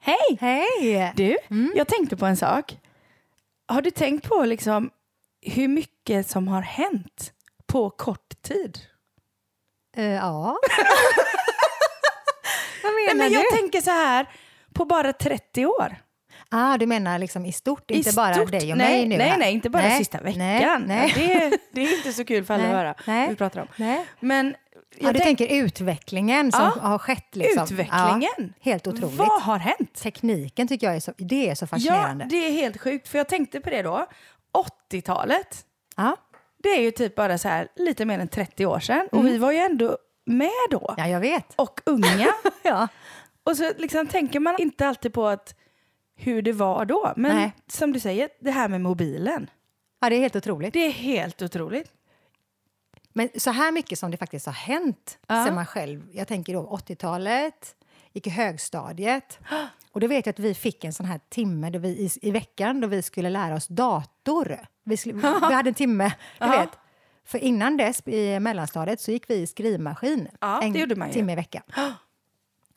Hej! Hej! Du, Mm. jag tänkte på en sak. Har du tänkt på liksom hur mycket som har hänt på kort tid? Eh, ja. Vad menar Nej, men jag du? tänker så här, på bara 30 år. ah, du menar liksom i stort, I inte bara stort. dig och nej, mig nu? Nej, här. nej, inte bara Nej, sista veckan. Nej, nej. Ja, Det, är, det är inte så kul för alla Nej, att höra nej. vad vi pratar om. nej. Men jag Ja, du tänker utvecklingen som Ja, har skett? Liksom. utvecklingen. Ja, helt otroligt. vad har hänt? Tekniken tycker jag är så, det är så Ja, fascinerande. det är helt sjukt. För jag tänkte på det då. 80-talet, Ja, det är ju typ bara så här lite mer än 30 år sedan. Och vi var ju ändå med då. Mm. ja jag vet. Och unga. Ja. och så liksom tänker man inte alltid på att hur det var då. Men Nej. som du säger, det här med mobilen. ja, det är helt otroligt. Det är helt otroligt. Men så här mycket som det faktiskt har hänt sen man själv... Jag tänker då 80-talet, gick i högstadiet. Och då vet jag att vi fick en sån här timme då vi, i, i veckan då vi skulle lära oss dator. Vi, skulle, vi hade en timme, du vet. För innan dess, i mellanstadiet, så gick vi i skrivmaskin Ja, en det gjorde man ju. timme i veckan.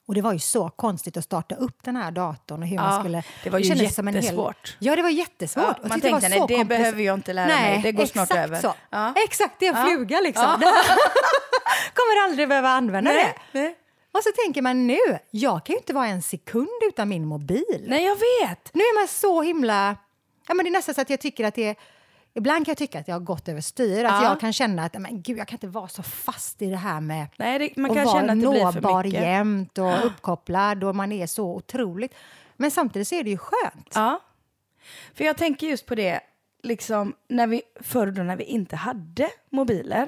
Och det var ju så konstigt att starta upp den här datorn och hur man Ja, skulle... det var ju kändes som en hel- jättesvårt. Ja, det var jättesvårt. Ja, Jag man tyckte det var tänkte, nej, så det komplex- behöver jag inte lära mig. Det går snart exakt över. Så. Ja. Exakt, det är en fluga liksom. Kommer aldrig behöva använda det. nej. Och så tänker man nu, jag kan ju inte vara en sekund utan min mobil. Nej, jag vet. Nu är man så himla... Ja, men det är nästan så att jag tycker att det är... Ibland kan jag tycka att jag har gått över styr. Ja. Att jag kan känna att men gud, jag kan inte vara så fast i det här med Nej, det, man och kan vara känna att det blir för nåbar mycket. jämt och uppkopplad och man är så otroligt. Men samtidigt så är det ju skönt. Ja. För jag tänker just på det, liksom, när vi, förr då när vi inte hade mobiler.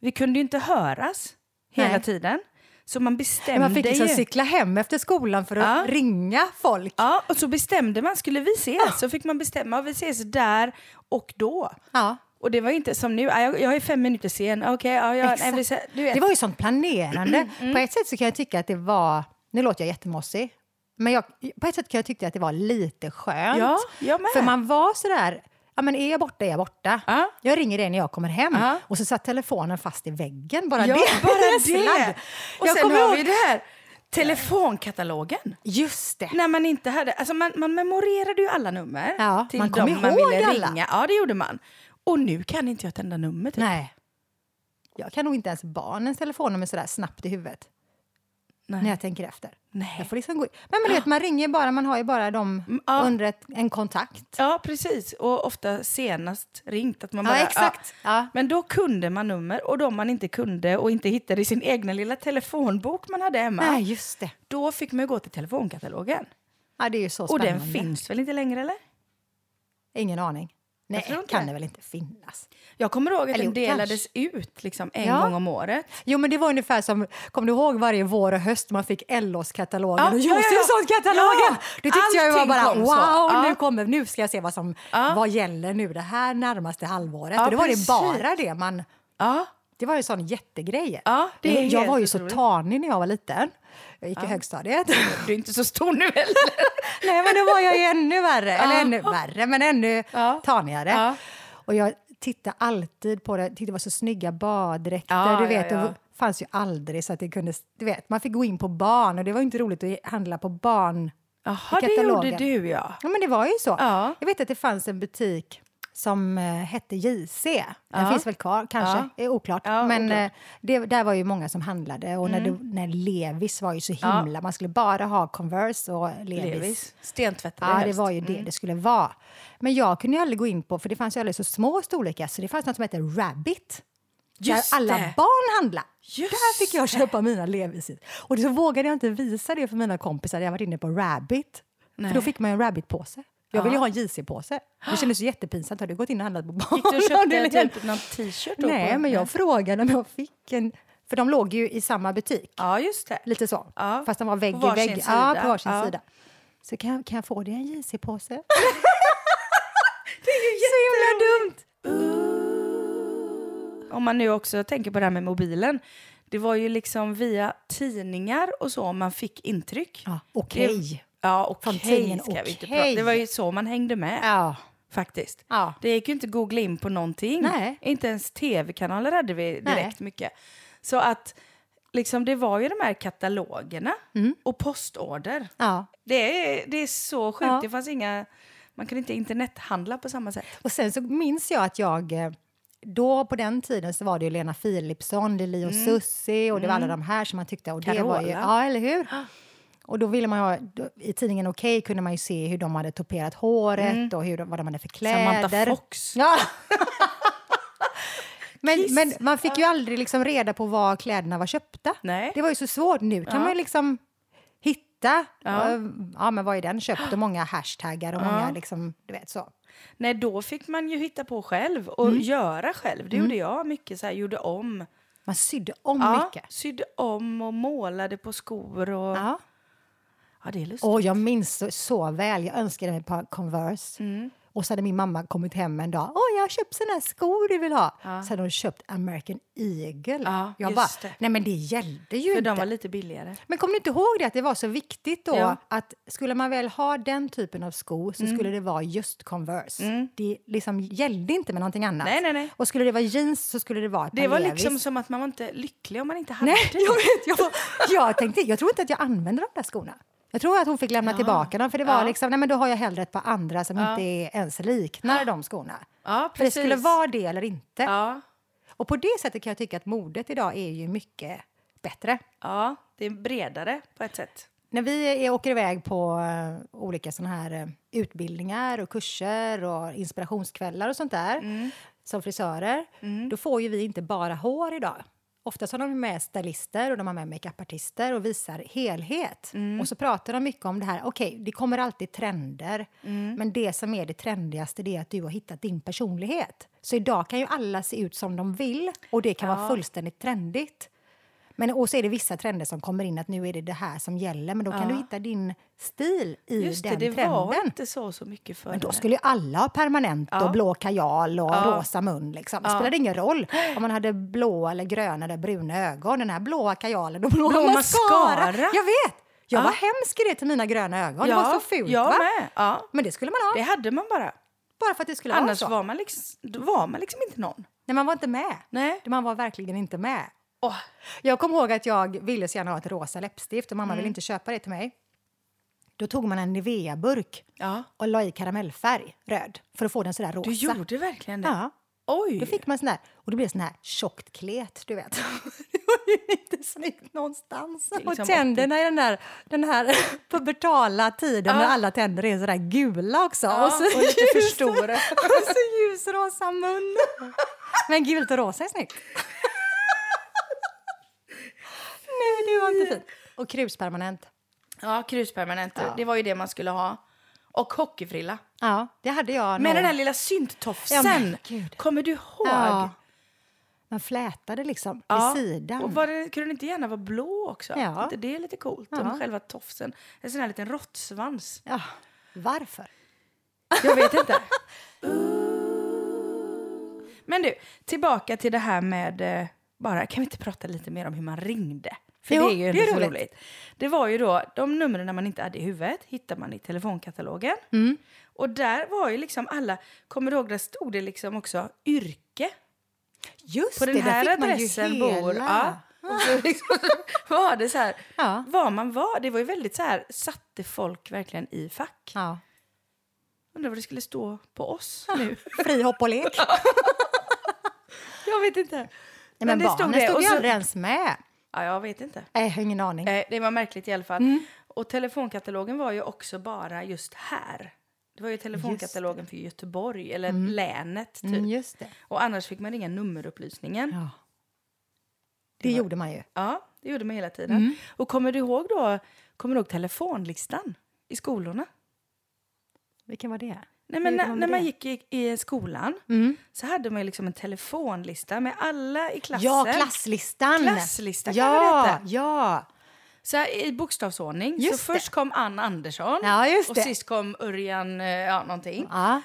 Vi kunde ju inte höras hela Nej. tiden. Så man bestämde Man fick liksom ju. cykla hem efter skolan för att Ja. ringa folk. Ja, och så bestämde man, skulle vi ses? Så fick man bestämma, "Ja, vi ses där och då. Ja. Och det var inte som nu, "Ah, jag, jag är fem minuter sen, Ah, okej, ja, jag, nej, Exakt. vi, ses." du vet. Mm, Det var ju sånt planerande. På ett sätt så kan jag tycka att det var... Nu låter jag jättemossig. Men jag, på ett sätt kan jag tycka att det var lite skönt. Ja, jag med. För man var sådär... Ja, men är jag borta är jag borta. Ja. Jag ringer dig när jag kommer hem. Ja. Och så satt telefonen fast i väggen. Bara ja, det. bara Sladd. det. Och jag sen kommer har ihåg... vi det här, telefonkatalogen. Just det. När man inte hade, alltså man, man memorerade ju alla nummer Ja, till man kom dem man ihåg ville alla. ringa. Ja, det gjorde man. Och nu kan inte jag ett enda nummer. Typ. Nej. Jag kan nog inte ens barnens telefonnummer sådär snabbt i huvudet. Nej. När jag tänker efter. Nej. Jag får liksom gå in. Men, men du vet, man ringer bara, man har ju bara dem Mm, ja. under ett, en kontakt. Ja, precis. Och ofta senast ringt. Att man Ja, bara, exakt. Ja. Men då kunde man nummer och de man inte kunde och inte hittade i sin egna lilla telefonbok man hade hemma. Nej, just det. Då fick man ju gå till telefonkatalogen. Ja, det är ju så Och spännande. den finns väl inte längre eller? Ingen aning. Nej, tror inte kan det. det väl inte finnas? Jag kommer ihåg att Eller den jo, kanske. delades ut liksom en Ja. gång om året. Jo, men det var ungefär som, kom du ihåg varje vår och höst man fick LOS-katalogen Ja, och ja, ja, ja. Josefsson-katalogen? Ja, Det tyckte jag ju var allting bara kom wow, så. Ja. nu kommer, nu ska jag se vad som, vad gäller nu det här närmaste halvåret. Ja, och det var precis. det bara det man, Ja. det var ju en sån jättegrej. Ja, det är jag, jag helt var ju otroligt. så tanig när jag var liten. Jag gick i högstadiet. Du är inte så stor nu heller. Nej, men då var jag ju ännu värre. Eller ännu värre, men ännu Ja. tanigare. Ja. Och jag tittade alltid på det. Tyckte det var så snygga baddräkter. Ja, du ja, vet, ja. Det fanns ju aldrig så att det kunde... Du vet, man fick gå in på barn och det var ju inte roligt att handla på barn. Jaha, I det gjorde katalogen. du ja. Ja, men det var ju så. Ja. Jag vet att det fanns en butik som eh, hette JC. Den finns väl kvar, kanske. Det är oklart. Ja, men oklart. Mm. eh, det, där var ju många som handlade. Och när, det, när Levis var ju så himla... Man skulle bara ha Converse och Levis. Levis. Stentvättade Ja, det helst. var ju det det skulle vara. Men jag kunde ju aldrig gå in på, för det fanns ju aldrig så små storlekar, så det fanns något som hette Rabbit. Just där alla det. barn handlade. Just där fick jag köpa mina Levis. Och så vågade jag inte visa det för mina kompisar, jag varit inne på Rabbit. Nej. För då fick man ju en Rabbit-påse. Jag ville ju ha en JC-påse. Det kändes ju jättepinsamt. Har du gått in och handlat på barn? Gick du och Det är köpte liksom- typ någon t-shirt? då Nej, på- men jag frågade om jag fick en... För de låg ju i samma butik. Ja, just det. Lite så. Ja. Fast de var vägg På i varsin vägg. sida. Ja, på varsin Ja. sida. Så kan, jag- kan jag få dig en JC-påse? det är ju så himla dumt! Om man nu också tänker på det här med mobilen. Det var ju liksom via tidningar och så man fick intryck. Ja, Okej. Det- Ja, okej Från tidningen, ska vi inte okej. prata. Det var ju så man hängde med Ja. faktiskt. Ja. Det gick ju inte att googla in på någonting. Nej. Inte ens tv-kanaler hade vi direkt mycket. Så att liksom, det var ju de här katalogerna Mm. och postorder. ja. Det är, det är så sjukt. Ja. Det fanns inga... Man kunde inte internethandla på samma sätt. Och sen så minns jag att jag... eh, Då på den tiden så var det ju Lena Philipsson, Lili Mm. och Susie och det var alla de här som man tyckte... Och det var ju, Carola. ja, eller hur? Och då ville man ju ha, då, I tidningen Okej kunde man ju se hur de hade toperat håret och hur, de- vad de hade för kläder. Mm. Samantha Fox. Ja. men, men man fick ju aldrig liksom reda på var kläderna var köpta. Nej. Det var ju så svårt. Nu kan man ju liksom hitta. Ja. Ja. ja, men vad är den köpt? Och många hashtaggar och många liksom, du vet så. Nej, då fick man ju hitta på själv och Mm. göra själv. Det gjorde jag mycket. så här, Gjorde om. Man sydde om mycket. Sydde om och målade på skor. Och... Ja. Ja. det är lustigt. Och jag minns så, så väl. Jag önskade mig ett par Converse. Mm. Och så hade min mamma kommit hem en dag. Åh, jag har köpt såna här skor du vill ha. Så hade hon köpt American Eagle. Ja, jag just bara, det. nej men det gällde ju För inte. de var lite billigare. Men kommer du inte ihåg det att det var så viktigt då Ja. Mm. att skulle man väl ha den typen av sko så skulle det vara just Converse. Det liksom gällde inte med någonting annat. Nej, nej, nej. Och skulle det vara jeans så skulle det vara ett Det var par Levis. liksom som att man var inte lycklig om man inte hade Nej, det. jag vet. Jag, var- jag tänkte, jag tror inte att jag använde de där skorna. Jag tror att hon fick lämna tillbaka dem för det var liksom, nej men då har jag hellre ett par andra som inte är ens liknar de skorna. Ja, För det skulle precis. vara det eller inte. Ja, Och på det sättet kan jag tycka att modet idag är ju mycket bättre. ja, det är bredare på ett sätt. När vi eh, åker iväg på eh, olika såna här eh, utbildningar och kurser och inspirationskvällar och sånt där som frisörer, då får ju vi inte bara hår idag. Ofta har de med stylister och de har med makeupartister och visar helhet. Och så pratar de mycket om det här, okej, det kommer alltid trender, men det som är det trendigaste det är att du har hittat din personlighet. Så idag kan ju alla se ut som de vill och det kan vara fullständigt trendigt. Men, och så är det vissa trender som kommer in, att nu är det det här som gäller. Men då kan du hitta din stil i Just det, den det trenden. var inte så, så mycket förr. Men då skulle ju alla ha permanent och blå kajal och rosa mun. Liksom. Det spelade ingen roll om man hade blå, eller gröna eller bruna ögon. Den här blåa kajalen och blå, Blå mascara. mascara. Jag vet! Jag var hemsk i det till mina gröna ögon. Ja, det var så fult, jag va? med. Ja. Men det skulle man ha, Det hade man bara. bara för att det skulle Annars vara så. var man, liksom, då var man liksom inte någon. Nej, man var inte med. Nej. Man var verkligen inte med. Åh, Jag kommer ihåg att jag ville så gärna ha ett rosa läppstift och mamma Mm. ville inte köpa det till mig. Då tog man en Nivea-burk Ja. och la i karamellfärg, röd, för att få den sådär rosa. Du gjorde verkligen det? Ja. Oj! Då fick man sån där, och det blev sån här tjockt klet, du vet. Det var ju inte snyggt någonstans. är liksom och tänderna i den där, den här pubertala tiden när alla tänder är sådär gula också. Ja, och, så och lite för stora. och så ljusrosa mun. Men gult och rosa är snyggt. Nej, det var inte fint. Och kruspermanent. Ja, kruspermanenter. Det var ju det man skulle ha. Och hockeyfrilla. Ja, det hade jag. Med nog. den här lilla synttofsen. Ja, men gud. Kommer du ihåg? ja. Man flätade liksom Ja. vid sidan. Och var det, kunde det inte gärna vara blå också? Ja. Inte Det är lite coolt. Om själva tofsen. En sån här liten råttsvans. Ja, varför? Jag vet inte. Men du, tillbaka till det här med... eh, Bara, kan vi inte prata lite mer om hur man ringde? För Jo, det är ju det är ändå så roligt. roligt. Det var ju då, de numren man inte hade i huvudet hittar man i telefonkatalogen. Mm. Och där var ju liksom alla, kommer du ihåg, där stod det liksom också yrke. Just På den där här fick man ju adressen hela- bor... Ja. Och så liksom, var det så här, Ja. var man var, det var ju väldigt så här, satte folk verkligen i fack. Ja. Undrar vad det skulle stå på oss nu. Fri hopp och lek. Jag vet inte. Nej, men barnen stod, och ju så- aldrig ens med. Ja, jag vet inte. Nej, jag har ingen aning. Eh, det var märkligt i alla fall. Mm. Och telefonkatalogen var ju också bara just här. Det var ju telefonkatalogen för Göteborg, eller länet typ. Mm, just det. Och annars fick man ringa nummerupplysningen. Ja. Det, gjorde man ju. Ja, det gjorde man hela tiden. Mm. Och kommer du ihåg då, kommer du ihåg telefonlistan i skolorna? Vilken var det? Nej, men Hur gjorde när, man när det? Mm. man gick i, i skolan så hade man ju liksom en telefonlista med alla i klassen. Ja, klasslistan! Klasslistan kan ja, det heta. Ja, Så här, I bokstavsordning. så Just det. först kom Ann Andersson Ja, just och det. sist kom Örjan eh, ja, någonting. ja.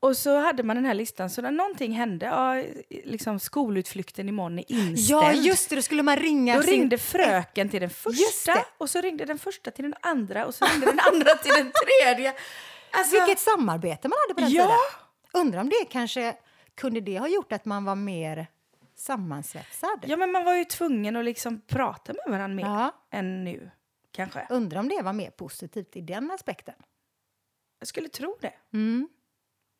Och så hade man den här listan, så när någonting hände, ja, liksom skolutflykten imorgon är inställd. Ja, just det, då skulle man ringa. Då sin- ringde fröken till den Just första det. och så ringde den första till den andra och så ringde den andra till den tredje. Alltså, Vilket samarbete man hade på den Ja. tiden. Undrar om det kanske kunde det ha gjort att man var mer sammansvetsad? Ja, men man var ju tvungen att liksom prata med varandra mer Ja. än nu, kanske. Undrar om det var mer positivt i den aspekten. Jag skulle tro det. Mm.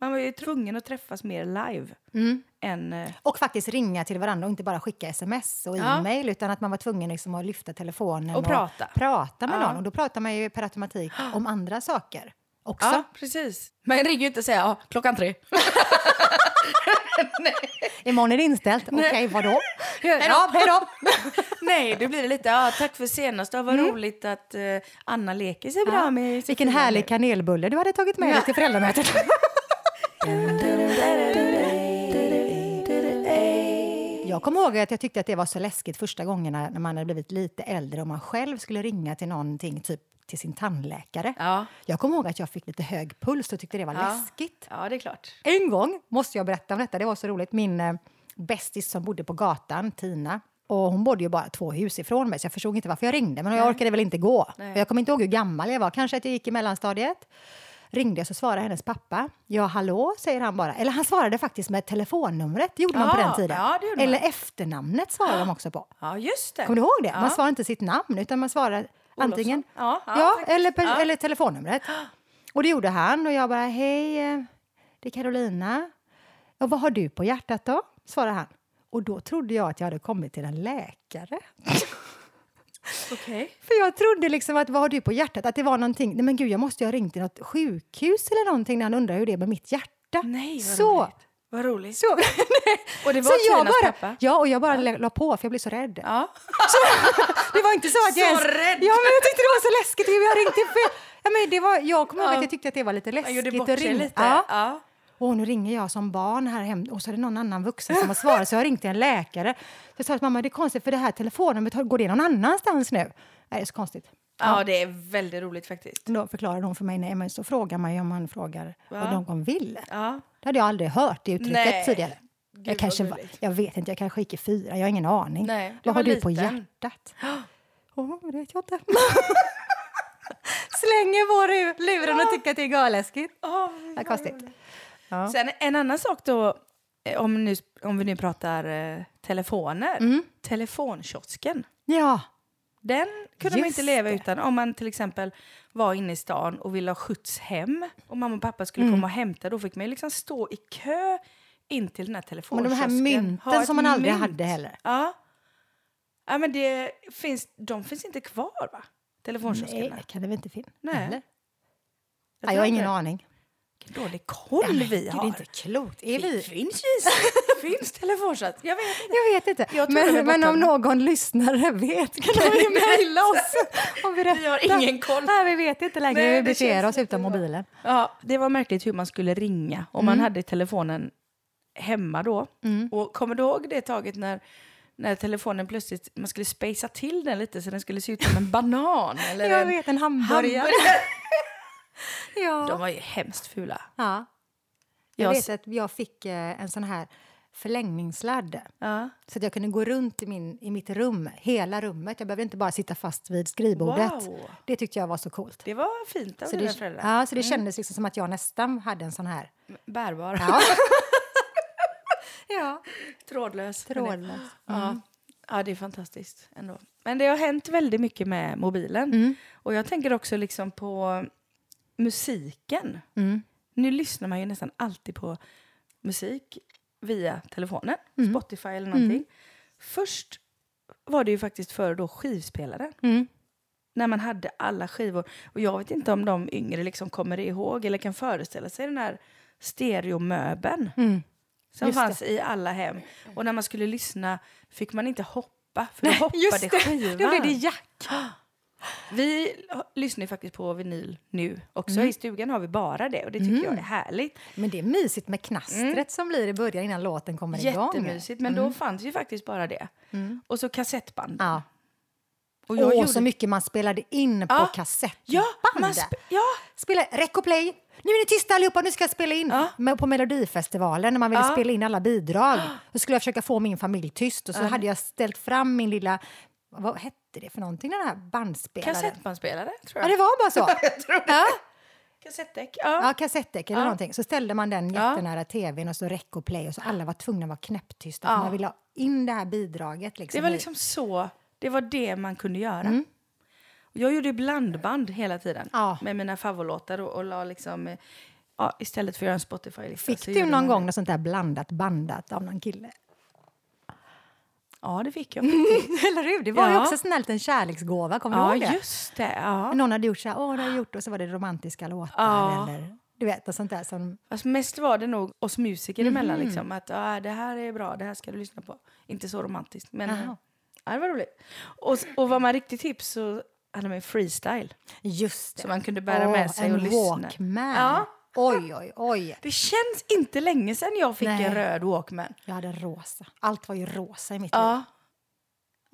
Man var ju tvungen att träffas mer live Mm. än... eh, Och faktiskt ringa till varandra och inte bara skicka sms och Ja. e-mail utan att man var tvungen liksom att lyfta telefonen Och prata. prata med Ja. någon. Och då pratar man ju per automatik om andra saker också. Ja, precis. Man ringer ju inte och säger ja, klockan tre. Imorgon är det inställt. Okej, vadå? Hej då, hej då! Nej, då blir det lite ja, tack för senast. Ja, vad roligt att eh, Anna leker sig bra med... Vilken härlig kanelbulle du hade tagit med dig till föräldramötet. Jag kommer ihåg att jag tyckte att det var så läskigt första gången när när man hade blivit lite äldre och man själv skulle ringa till någonting, typ till sin tandläkare. Ja. Jag kommer ihåg att jag fick lite hög puls och tyckte det var Ja. läskigt. ja, det är klart. En gång måste jag berätta om detta. Det var så roligt. Min eh, bästis som bodde på gatan, Tina, och hon bodde ju bara två hus ifrån mig så jag förstod inte varför jag ringde. Men jag orkade väl inte gå. Nej. För Jag kommer inte ihåg hur gammal jag var. Kanske att jag gick i mellanstadiet. Ringde jag så svarade hennes pappa. Ja, hallå, säger han bara. Eller han svarade faktiskt med telefonnumret. Det gjorde man på Ja, den tiden. Ah, ja, det gjorde man. Ah. Eller efternamnet svarade de också på. Ja, just det. Kommer du ihåg det? Man Ja. svarar inte sitt namn utan man svarar antingen Ja, ja, faktiskt. eller, per, Ja. eller telefonnumret. Och det gjorde han och jag bara hej, eh, det är Carolina. Och vad har du på hjärtat då? svarade han. Och då trodde jag att jag hade kommit till en läkare. Okej. För jag trodde liksom att vad har du på hjärtat? Att det var någonting, nej men gud jag måste ju ha ringt till något sjukhus eller någonting när han undrar hur det är med mitt hjärta. Nej, vad så, roligt. Vad roligt. så, Och det var så jag Tinas bara, pappa? Ja, och jag bara la- la på för jag blev så rädd. Ja. Det var inte så att jag Så rädd. Ja, men jag tyckte det var så läskigt. Jag ringde fel. Ja, men det var, jag kommer ihåg Ja. att jag tyckte att det var lite Man läskigt. gjorde bort att sig ringa. lite. Ja. Ja. Och nu ringer jag som barn här hem och så är det någon annan vuxen som har svarat. Så jag har ringt till en läkare. Så jag sa att mamma, det är konstigt för det här telefonnumret, har- går det någon annanstans nu? Nej, det är så konstigt. ja, det är väldigt roligt faktiskt. Då förklarade hon för mig, nej men så frågar man ju om man frågar Ja. vad någon vill. Ja. Det hade jag aldrig hört det uttrycket Nej. tidigare. vad Jag, kanske var, gulligt. jag vet inte, jag kanske gick i fyra, jag har ingen aning. Nej, du Vad har var du på liten. hjärtat? Åh, det vet jag inte. Slänger på ru- luren och tycker att det är galäskigt. Oh, Ja, konstigt. Ja. Sen en annan sak då, eh, om, nu, om vi nu pratar eh, telefoner. Mm. Telefonkiosken. Ja, Den kunde man Just inte leva det. utan. Om man till exempel var inne i stan och ville ha skjuts hem och mamma och pappa Mm. skulle komma och hämta, då fick man ju liksom stå i kö in till den här men de telefonkiosken. här Ha mynten ett som man aldrig mynt. hade heller. Ja. ja men det finns, de finns inte kvar, va? alltså. Telefonkioskerna. Nej, kan det väl inte finnas? Nej. Eller? tror Nej, jag har inte ingen det. aning. Vilken dålig koll vi Gud, har. det är inte klokt. Är Det vi? finns ju finns telefonkiosk. Jag vet inte. Jag vet inte. Jag tror det var men men om borta. någon lyssnare vet kan de ju mejla oss. och berätta. Vi har ingen koll. Nej, vi vet inte längre Nej, hur vi det beter känns oss utan jättebra. mobilen. Ja, det var märkligt hur man skulle ringa om man hade telefonen hemma då. Och kommer du ihåg det taget när, när telefonen plötsligt, man skulle spacea till den lite så den skulle se ut som en banan eller Jag en vet, en hamburgare. Ja. De var ju hemskt fula. ja. Jag Jag vet s- att jag fick eh, en sån här förlängningssladd Ja. så att jag kunde gå runt i, min, i mitt rum, hela rummet. Jag behövde inte bara sitta fast vid skrivbordet. Wow. Det tyckte jag var så coolt. Det Mm. var fint av Så dina det, föräldrar. ja, så det kändes liksom som att jag nästan hade en sån här... Bärbar. Ja. ja. Trådlös. Trådlös. Ja. ja, det är fantastiskt ändå. Men det har hänt väldigt mycket med mobilen. Och jag tänker också liksom på musiken. Nu lyssnar man ju nästan alltid på musik via telefonen, Spotify eller någonting. Först var det ju faktiskt före då skivspelaren. Mm. När man hade alla skivor. Och jag vet inte om de yngre liksom kommer ihåg eller kan föreställa sig den här stereomöbeln. Mm. Som Just fanns i alla hem. Och när man skulle lyssna fick man inte hoppa, för då hoppade Just det, skivan. då blev det jack. Vi h- lyssnar ju faktiskt på vinyl nu också. Mm. I stugan har vi bara det och det tycker jag är härligt. Men det är mysigt med knastret Mm. som blir i början innan låten kommer igång. Jättemysigt, men då fanns ju faktiskt bara det. Och så kassettband. Mm. Ja. Och Och Och jag gjorde- så mycket man spelade in på Ja. kassettband. Ja, man sp- ja. Spela, räck och play! Nu är ni tysta allihopa, nu ska jag spela in. Ja. Men på Melodifestivalen när man ville Ja. spela in alla bidrag. Då skulle jag försöka få min familj tyst och så hade jag ställt fram min lilla, vad hette det för någonting, den här bandspelaren? Kassettbandspelare, tror Ja, jag. det var bara så. ja. Kassettdäck. Ja. ja, kassettdäck eller någonting. Så ställde man den Ja. jättenära tvn och så räck och play och så alla var tvungna att vara knäpptysta. Ja. för Man ville ha in det här bidraget. Liksom. Det var i- liksom så, det var det man kunde göra. Och Jag gjorde ju blandband hela tiden Mm. Ja. med mina favoritlåtar och, och la liksom, eh, ja, istället för att göra en Spotify-lista. Fick så du Alltså, gjorde någon man- gång något sånt där blandat bandat av någon kille? Ja, det fick jag. Eller hur? Det var ju Ja. också en sån här liten kärleksgåva, kommer ja, du ihåg det? just det. Ja. Någon hade gjort så här, åh, det har jag gjort, och så var det romantiska låtar Ja. eller du vet, och sånt där som... Alltså, mest var det nog oss musiker emellan. Mhm. Liksom, att ah, det här är bra, det här ska du lyssna på. Inte så romantiskt, men Jaha. ja, det var roligt. Och, och var man riktigt tips så hade man ju freestyle. Just det. Som man kunde bära med sig en och lyssna. Walkman. Ja. Oj, oj, oj. Det känns inte länge sedan jag fick Nej. en röd Walkman. Jag hade en rosa. Allt var ju rosa i mitt liv. Ja,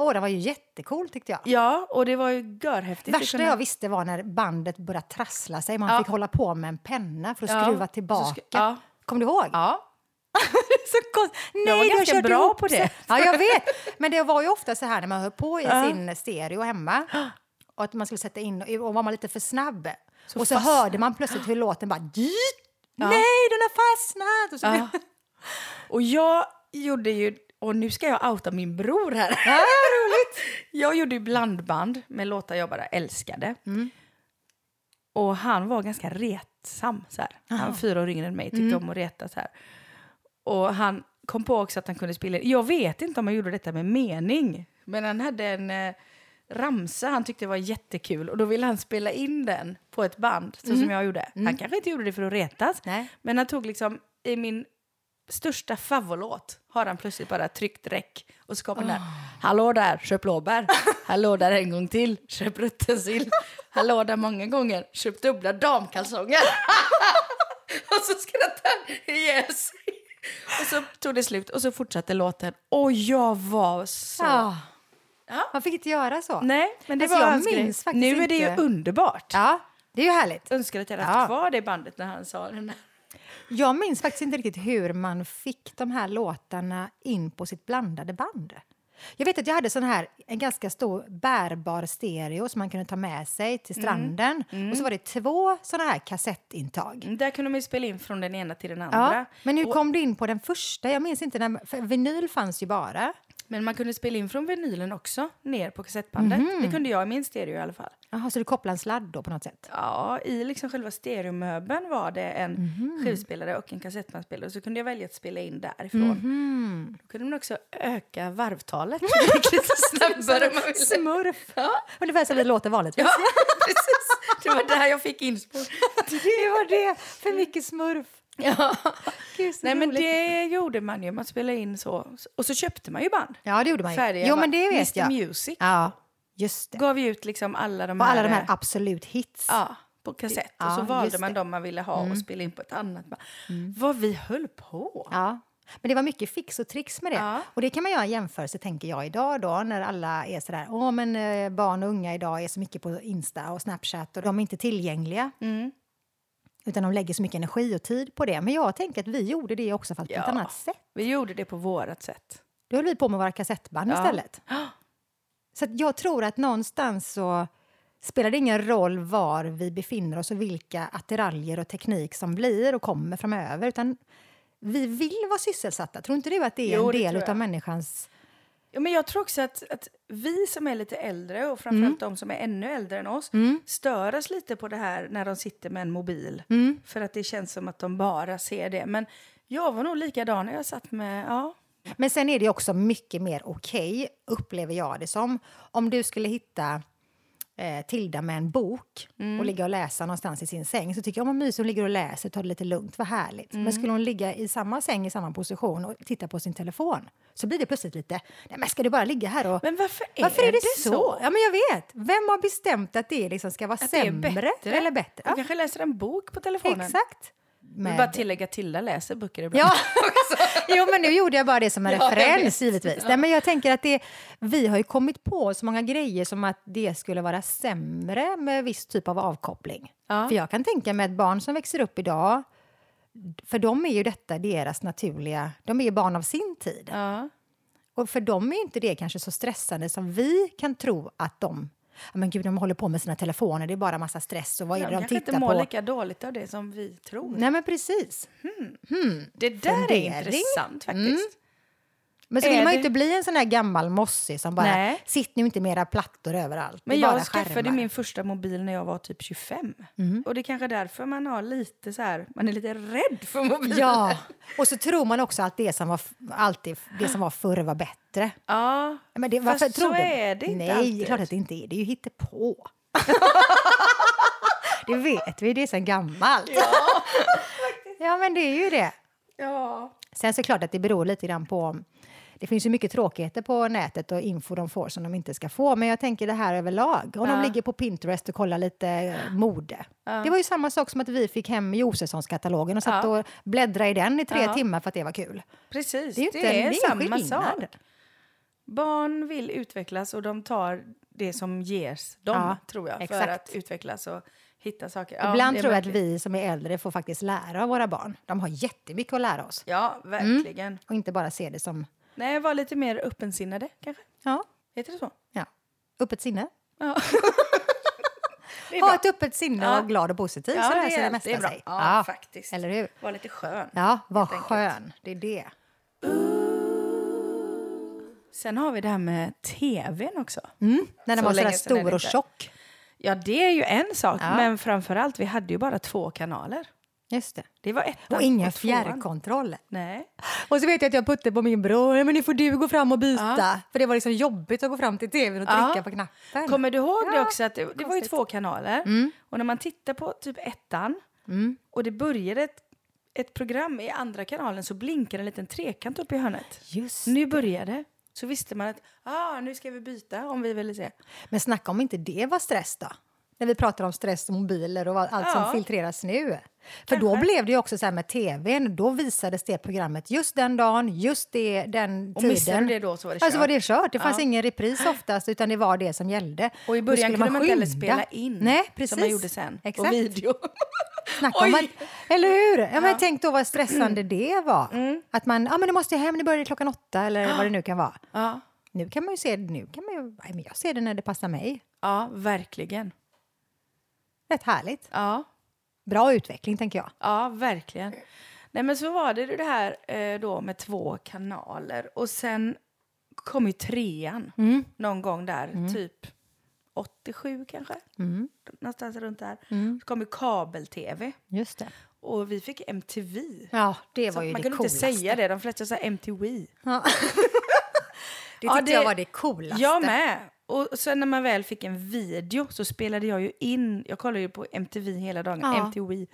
Åh, det var ju jättecool tyckte jag. ja och det var ju görhäftigt. att Värsta kunna- jag visste var när bandet började trassla sig. Man Ja. fick hålla på med en penna för att Ja. skruva Så tillbaka. sku- ja. Kommer du ihåg? Ja. så kost... Nej, var du har ganska kört bra ihop på det. sig. Ja, jag vet. Men det var ju ofta så här när man höll på i sin stereo hemma och att man skulle sätta in och var man lite för snabb. Så och så fastnade. hörde man plötsligt hur låten bara... "Dyt! Nej, den har fastnat! Och så blev- Och jag gjorde ju, och nu ska jag outa min bror här. roligt. Jag gjorde ju blandband med låtar jag bara älskade. Mm. Och han var ganska retsam så här. Han var fyra år yngre än mig, tyckte Mm. om att reta så här. Och han kom på också att han kunde spela in. Jag vet inte om han gjorde detta med mening, men han hade en eh, ramsa han tyckte var jättekul och då ville han spela in den på ett band, så som jag gjorde. Han kanske inte gjorde det för att retas, Nej. men han tog liksom i min största favoritlåt har han plötsligt bara tryckt räck och så kom den där. Hallå där, köp blåbär. Hallå där en gång till, köp rutten sill. Hallå där många gånger, köp dubbla damkalsonger. och så skrattade han ihjäl sig. Och så tog det slut och så fortsatte låten. Och jag var så... Ja. Ja. Man fick inte göra så. Nej, men det Alltså, var jag hans grej. minns faktiskt Nu är det ju inte. underbart. Ja, det är ju härligt. Önskar att jag hade haft Ja. kvar det bandet när han sa den där. Jag minns faktiskt inte riktigt hur man fick de här låtarna in på sitt blandade band. Jag vet att jag hade sån här, en ganska stor bärbar stereo som man kunde ta med sig till Mm. stranden. Och så var det två såna här kassettintag. Mm, Där kunde man ju spela in från den ena till den andra. Ja, men hur kom du in på den första? Jag minns inte. När, för vinyl fanns ju bara. Men man kunde spela in från vinylen också, ner på kassettbandet. Det kunde jag i min stereo i alla fall. Jaha, så du kopplade en sladd då på något sätt? Ja, i liksom själva stereomöbeln var det en skivspelare och en kassettbandspelare. Och så kunde jag välja att spela in därifrån. Hmm. Då kunde man också öka varvtalet. Det gick lite snabbare om man ville. Smurf! Ja, Ungefär som det låter vanligtvis. ja, precis. Det var där jag fick inspår. det var det! För mycket smurf. Ja. Gud, så Nej, men roligt. det gjorde man ju. Man spelade in så. Och så köpte man ju band. Ja, det gjorde man ju. Färdiga jo, band. men det vet Mr jag. Music Ja, just det. gav ju ut liksom alla de Och här... alla de här eh, absolut hits. Ja, på kassett. och så ja, valde just man det. Mm. de man ville ha och spela in på ett annat. Vad vi höll på! Ja. Men det var mycket fix och tricks med det. Ja. Och det kan man göra en jämförelse, tänker jag, idag då när alla är sådär, åh men eh, barn och unga idag är så mycket på Insta och Snapchat och de är inte tillgängliga. Mm. Utan de lägger så mycket energi och tid på det. Men jag tänker att vi gjorde det också, fast Ja. på ett annat sätt. Vi gjorde det på vårat sätt. Då höll vi på med våra kassettband Ja. istället. Så att jag tror att någonstans så spelar det ingen roll var vi befinner oss och vilka attiraljer och teknik som blir och kommer framöver. Utan vi vill vara sysselsatta. Tror inte du att det är Jo, det en del tror jag. av människans... Ja, men jag tror också att, att vi som är lite äldre och framförallt Mm. de som är ännu äldre än oss stör oss lite på det här när de sitter med en mobil. Mm. För att det känns som att de bara ser det. Men jag var nog likadan när jag satt med... Ja, Men sen är det ju också mycket mer okej, upplever jag det som. Om du skulle hitta eh, Tilda med en bok Mm. och ligga och läsa någonstans i sin säng så tycker jag, om vad mysigt, hon ligger och läser, tar det lite lugnt, vad härligt. Mm. Men skulle hon ligga i samma säng, i samma position och titta på sin telefon så blir det plötsligt lite, nej men ska du bara ligga här och... Men varför är varför är det, det så? så? Ja men jag vet! Vem har bestämt att det liksom ska vara Att det är sämre bättre? eller bättre? jag Ja, kanske läser en bok på telefonen. exakt! Jag vill med... bara tillägga att Tilda läser böcker ibland. Ja, jo, men nu gjorde jag bara det som en Ja, jag referens, vet. givetvis. Nej, men jag tänker att det, vi har ju kommit på så många grejer som att det skulle vara sämre med viss typ av avkoppling. Ja. För jag kan tänka mig ett barn som växer upp idag, för dem är ju detta deras naturliga... De är ju barn av sin tid. Ja. Och för dem är ju inte det kanske så stressande som vi kan tro att de... Ja, men gud, de håller på med sina telefoner, det är bara massa stress och vad är De det de kanske tittar inte på? mår lika dåligt av det som vi tror. Nej, men precis. det där fundering. Mm. är intressant faktiskt. Men så Är vill man det- ju inte bli en sån här gammal mossig som bara Nej. “sitt nu inte med era plattor överallt, Men det är bara jag skaffade skärmar." Mm. min första mobil när jag var typ 25. Och det är kanske är därför man har lite så här, man är lite rädd för mobilen. Ja, och så tror man också att det som var, f- alltid, det som var förr var bättre. ja. Men det, Fast varför tror så du? är det inte Nej, alltid. klart att det inte är. Det är ju hittepå. det vet vi, det är sen gammalt. Ja, men det är ju det. ja. Sen så är det klart att det beror lite grann på... om- Det finns ju mycket tråkigheter på nätet och info de får som de inte ska få. Men jag tänker det här överlag. Om Ja. de ligger på Pinterest och kollar lite eh, mode. Det var ju samma sak som att vi fick hem Josefssonskatalogen och satt Ja. och bläddrade i den i tre Ja. timmar för att det var kul. Precis, Det är ju inte- det är ingen samma skillnad. sak. Barn vill utvecklas och de tar det som ges dem, Ja, tror jag, för exakt. att utvecklas och hitta saker. Ja, Ibland det är tror jag att verkligen- vi som är äldre får faktiskt lära av våra barn. De har jättemycket att lära oss Ja, verkligen. och inte bara se det som Nej, var lite mer öppensinnade, kanske. ja, Heter det så? ja, öppet sinne. Ja. det är Ha bra. ett öppet sinne Ja. och vara glad och positiv Ja, så det löser det, är- mesta det är bra. sig. Ja, faktiskt. Eller hur? Var lite skön. Ja, vad enkelt. skön. Det är det. Sen har vi det här med tvn också. När den Mm. Så var länge sådär sedan är det stor och inte. tjock. Ja, det är ju en sak, Ja. men framför allt, vi hade ju bara två kanaler. Just det. Det var ettan Och ingen tvåan. fjärrkontroll. Nej. Och så vet jag att jag puttade på min bror. "Ja, Men nu får du gå fram och byta. För det var liksom jobbigt att gå fram till tvn och Ja. trycka på knappen. Kommer du ihåg det Ja, också? Att det, det var ju konstigt. två kanaler. Och när man tittar på typ ettan och det började ett, ett program i andra kanalen så blinkade en liten trekant upp i hörnet. Just. Nu börjar det. Så visste man att ah, nu ska vi byta om vi ville se. Men snacka om inte det var stress då. När vi pratar om stress och mobiler och vad- allt Ja. som filtreras nu. För då blev det ju också så här med tvn. Då visades det programmet just den dagen, just det, den Och tiden. missade du det då så var det Alltså var kört. det kört. Det fanns ingen repris oftast utan det var det som gällde. Och i Då början skulle kunde man, inte heller skynda. spela in Nej, precis. som man gjorde sen. Exakt. Och video. Snacka om Oj. att, eller hur? Ja, men Tänk då vad stressande det var. Mm. Att man, ja ah, men nu måste jag hem, nu börjar det klockan åtta eller vad det nu kan vara. ja. Nu kan man ju se det, nu kan man ju, nej, men jag ser det när det passar mig. ja, verkligen. Rätt härligt. Ja. Bra utveckling tänker jag. Ja, verkligen. Nej, men så var det ju det här eh, då med två kanaler. Och sen kom ju trean Mm. någon gång där, typ 87 kanske. Mm. Någonstans runt där. Så kom ju kabel-tv. Just det. Och vi fick MTV. Ja, det var Så ju man det kunde coolaste. inte säga det, de flesta sa MTV. Det Ja, tyckte det- jag var det coolaste. Jag med. Och sen när man väl fick en video så spelade jag ju in, jag kollade ju på MTV hela dagen, Ja. Mm. MTV,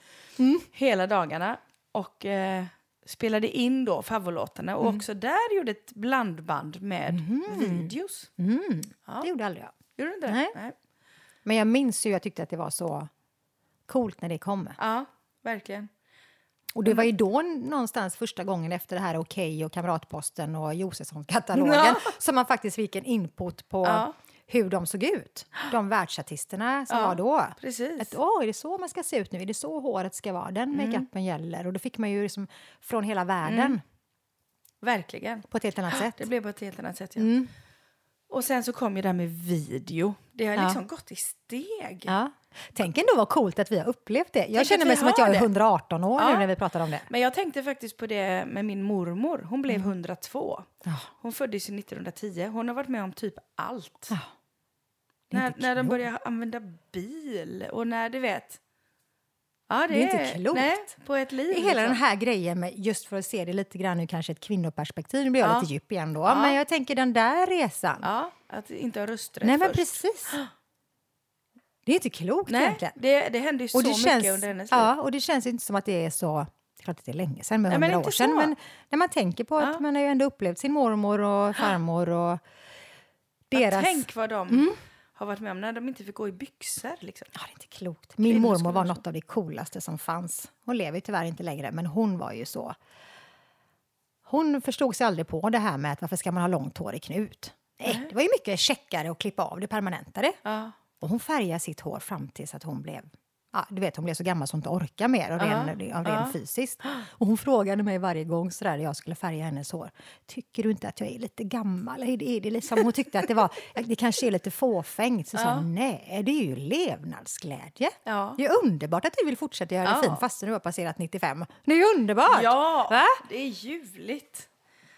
hela dagarna. Och eh, spelade in då favoritlåtarna Mm. och också där gjorde ett blandband med videos. Det gjorde aldrig jag. Gjorde du inte det? Mm. Nej. Men jag minns ju, jag tyckte att det var så coolt när det kom. Ja, verkligen. Och det var ju då någonstans första gången efter det här Okej och Kamratposten och Josefsson-katalogen Ja. som man faktiskt fick en input på Ja. hur de såg ut. De världsartisterna som Ja, var då. precis. Mm. Att, Åh, är det så man ska se ut nu? Är det så håret ska vara? Den makeupen gäller. Och då fick man ju liksom från hela världen Verkligen. på ett helt annat sätt. Mm. Mm. Det blev på ett helt annat sätt. Ja. Och sen så kom ju det här med video. Det har Ja. liksom gått i steg. Ja. Tänk ändå vad coolt att vi har upplevt det. Jag Tänk känner att mig vi som att har jag är det. 118 år Ja. nu när vi pratar om det. Men jag tänkte faktiskt på det med min mormor. Hon blev Mm. 102. Hon föddes ju 1910. Hon har varit med om typ allt. Ja. Det är När, inte när de klokt. började använda bil och när, du vet... Ja, det, Det är inte klokt. Nej, på ett liv. Hela den liksom. här grejen, med, just för att se det lite grann ur kanske ett kvinnoperspektiv, nu blir jag Ja. lite djup igen då, men jag tänker den där resan. Ja, att inte ha rösträtt Nej men först. precis. Det är inte klokt Nej, egentligen. det, det hände ju så Och det, mycket känns, under hennes liv. ja, och det känns ju inte som att det är så, det är klart att det är länge sedan, med Nej, men hundra år inte sedan, så. men när man tänker på att man har ju ändå upplevt sin mormor och farmor och deras... Mm. Tänk vad de har varit med om när de inte fick gå i byxor. Liksom. Ja, det är inte klokt. Min Det mormor skulle var vara något av det coolaste som fanns. Hon lever ju tyvärr inte längre, men hon var ju så... Hon förstod sig aldrig på det här med att varför ska man ha långt hår i knut? Nej, det var ju mycket checkare att klippa av det permanentare. Ja. Och hon färgade sitt hår fram tills att hon blev... Ja, du vet, hon blev så gammal så hon inte orkar mer av ren, av ren fysiskt. Och hon frågade mig varje gång så där, jag skulle färga hennes hår. Tycker du inte att jag är lite gammal? Är det, är det liksom? Hon tyckte att det var det kanske är lite fåfängt. Så sa jag, nej, det är ju levnadsglädje. Ja. Det är underbart att du vill fortsätta göra Ja. det fint fast du har passerat 95. Det är ju underbart! Ja, Va? det är ljuvligt.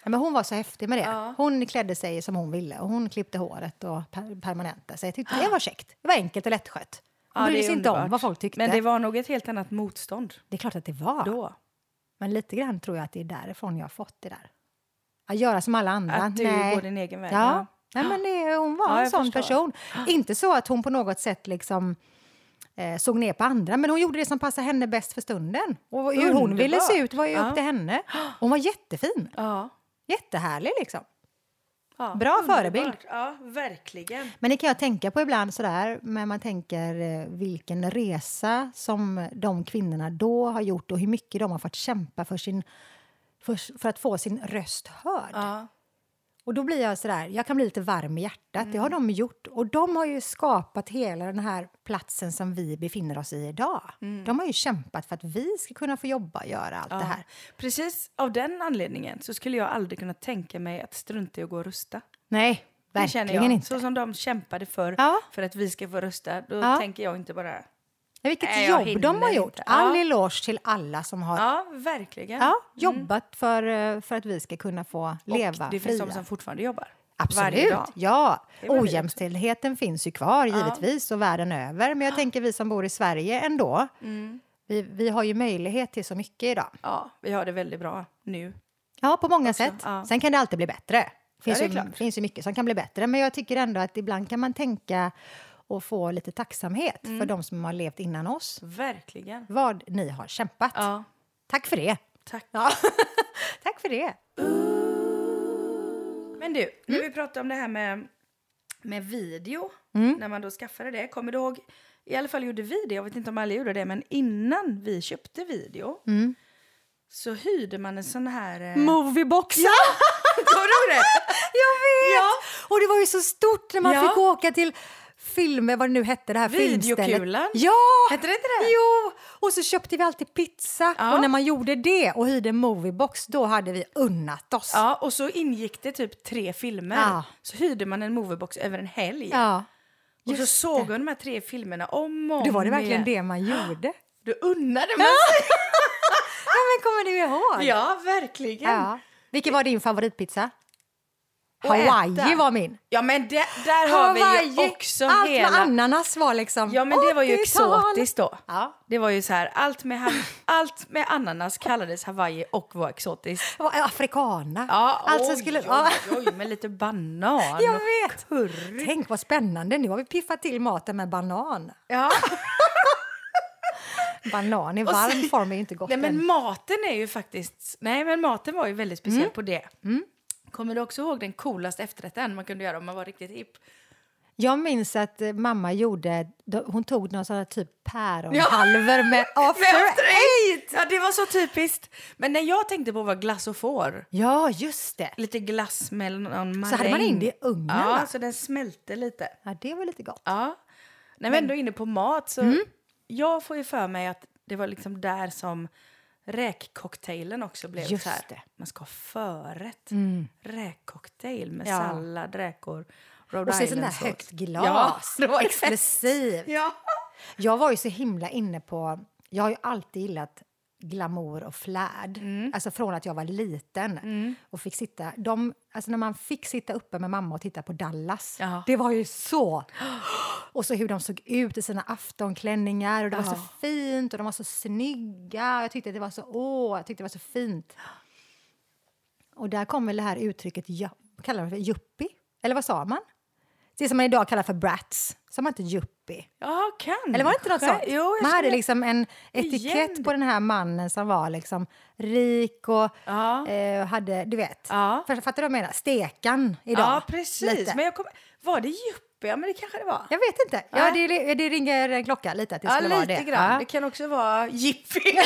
Ja, Men hon var så häftig med det. Ja. Hon klädde sig som hon ville och hon klippte håret och per- permanentade sig. Jag tyckte det var käckt. Det var enkelt och lättskött. Hon Ah. Ja, det brydde är sig inte om underbart. vad folk tyckte. Men det, det var nog ett helt annat motstånd är klart att det var. då. Men lite grann tror jag att det är därifrån jag har fått det där. Att göra som alla andra. Att du Nej. går din egen väg. Ja. Nej, men det, hon var Ja, en jag sån förstår. person. Inte så att hon på något sätt liksom eh, såg ner på andra, men hon gjorde det som passade henne bäst för stunden. Och hur hon Underbart. ville se ut var ju Ja. upp till henne. Hon var jättefin, Ja. jättehärlig liksom. Ja, Bra förebild. underbart. Ja, verkligen. Men det kan jag tänka på ibland sådär, men man tänker eh, vilken resa som de kvinnorna då har gjort och hur mycket de har fått kämpa för, sin, för, för att få sin röst hörd. Ja. Och då blir jag sådär, jag kan bli lite varm i hjärtat, det har Mm. de gjort. Och de har ju skapat hela den här platsen som vi befinner oss i idag. De har ju kämpat för att vi ska kunna få jobba och göra allt det Mm. Ja. här. Precis av den anledningen så skulle jag aldrig kunna tänka mig att strunta i att gå och rösta. Nej, Det känner verkligen jag. inte. Så som de kämpade för, Ja. för att vi ska få rösta, då Ja. tänker jag inte bara... Nej, Vilket Nej, jag jobb de har hinner gjort! inte. All Ja. eloge till alla som har Ja, verkligen. Ja, jobbat för, eh, för att vi ska kunna få leva Mm. Och det finns fria. de som fortfarande jobbar. Varje Absolut, dag. ja. Det är väl det. Ojämställdheten finns ju kvar givetvis och världen över. Men jag tänker vi som bor i Sverige ändå. Mm. Vi, vi har ju möjlighet till så mycket idag. Ja, vi har det väldigt bra nu. Ja, på många sätt. ja. Sen kan det alltid bli bättre. Finns det är ju, klart. finns ju mycket som kan bli bättre. Men jag tycker ändå att ibland kan man tänka och få lite tacksamhet Mm. för de som har levt innan oss. Verkligen. Vad ni har kämpat. Ja, Tack för det! tack. Ja. Tack för det! Men du, när Mm. vi pratade om det här med, med video, Mm. när man då skaffade det. Kommer du ihåg, i alla fall gjorde vi det, jag vet inte om alla gjorde det, men innan vi köpte video Mm. så hyrde man en sån här... Eh, Movieboxen! Kommer du ihåg det? Jag vet! Och det var ju så stort när man Ja. fick åka till filmer, vad det nu hette, det här Videokulan. filmstället. Ja! Hette det inte det? Jo! Och så köpte vi alltid pizza. Ja. Och när man gjorde det och hyrde en moviebox, då hade vi unnat oss. Ja, och så ingick det typ tre filmer. Ja. Så hyrde man en moviebox över en helg. Ja. och så just såg man de här tre filmerna om och om Då var det verkligen igen. det man gjorde. Då unnade man sig. Ja, men kommer du ihåg? Ja, verkligen. Ja. Vilken var din favoritpizza? Och äta. Hawaii var min. Ja, men det, där har vi ju också Allt hela... med ananas var liksom Ja, men det var ju 80-tal. exotiskt då. Ja. Det var ju så här, allt med, ha- allt med ananas kallades Hawaii och var exotiskt. Det var Afrikana. Ja, alltså oj, skulle, ja. oj, oj, med lite banan Jag och vet. curry. Tänk vad spännande, nu har vi piffat till maten med banan. Ja. Banan i Och varm sen- form är ju inte gott Nej, än. men maten är ju faktiskt... Nej, men maten var ju väldigt speciell Mm. på det. Mm. Kommer du också ihåg den coolaste efterrätten man kunde göra om man var riktigt hipp? Jag minns att eh, mamma gjorde, då- hon tog någon sån här typ päronhalvor med after After eight. Ja, det var så typiskt. Men när jag tänkte på var glass och får. Ja, just det. Lite glass med någon maräng. Så hade man in det i ugnen, Ja, va? så den smälte lite. Ja, det var lite gott. Ja. När vi ändå är inne på mat så Mm. jag får ju för mig att det var liksom där som räkcocktailen också blev Just så här. det. Mm. Man ska ha förrätt. Räkcocktail med Ja. sallad, räkor, Rhode Och så sånt där Island-sås. högt glas. Ja, det var exakt. Exklusivt. Ja. Jag var ju så himla inne på... Jag har ju alltid gillat glamour och flärd. Mm. Alltså från att jag var liten. Och fick sitta, de, alltså när man fick sitta uppe med mamma och titta på Dallas. Ja. Det var ju så! Och så hur de såg ut i sina aftonklänningar. Och det var så Ja. fint och de var så snygga. Jag tyckte att det var så, åh, jag tyckte det var så fint. Och där kom väl det här uttrycket, ja, kallar man det för yuppie? Eller vad sa man? Det som man idag kallar för brats. Sa man inte yuppie? Ja, kan. Eller var det inte något sånt? Jo, jag man hade skulle- liksom en etikett Igen. på den här mannen som var liksom rik och Ja. eh, hade, du vet. Ja. För- Fattar du vad jag menar? Stekan idag. Ja, precis. Lite. Men jag kom... Var det yuppie EP, ja men det kanske det var. Jag vet inte. Ja, det, det ringer en klocka lite att det Ja, skulle lite vara det. grann. Ja. Det kan också vara jippi.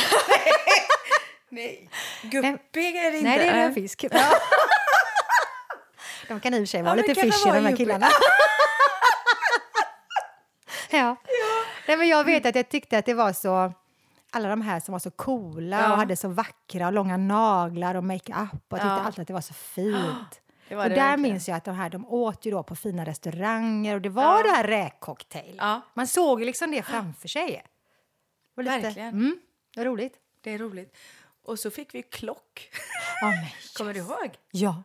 Nej, guppig är det inte. Nej, det är en fisk. de kan i och för sig vara Ja, men lite kan det fishy, vara de här djupet? killarna. ja. Nej, men jag vet att jag tyckte att det var så... Alla de här som var så coola Ja. och hade så vackra och långa naglar och makeup. Och jag tyckte Ja. alltid att det var så fint. Det var och det där verkligen. minns jag att de här de åt ju då på fina restauranger och det var det här räkcocktail. Ja. Man såg ju liksom det framför sig. Och Verkligen. Mm, vad roligt. Det är roligt. Och så fick vi klock. Ja, men, Kommer du ihåg? ja.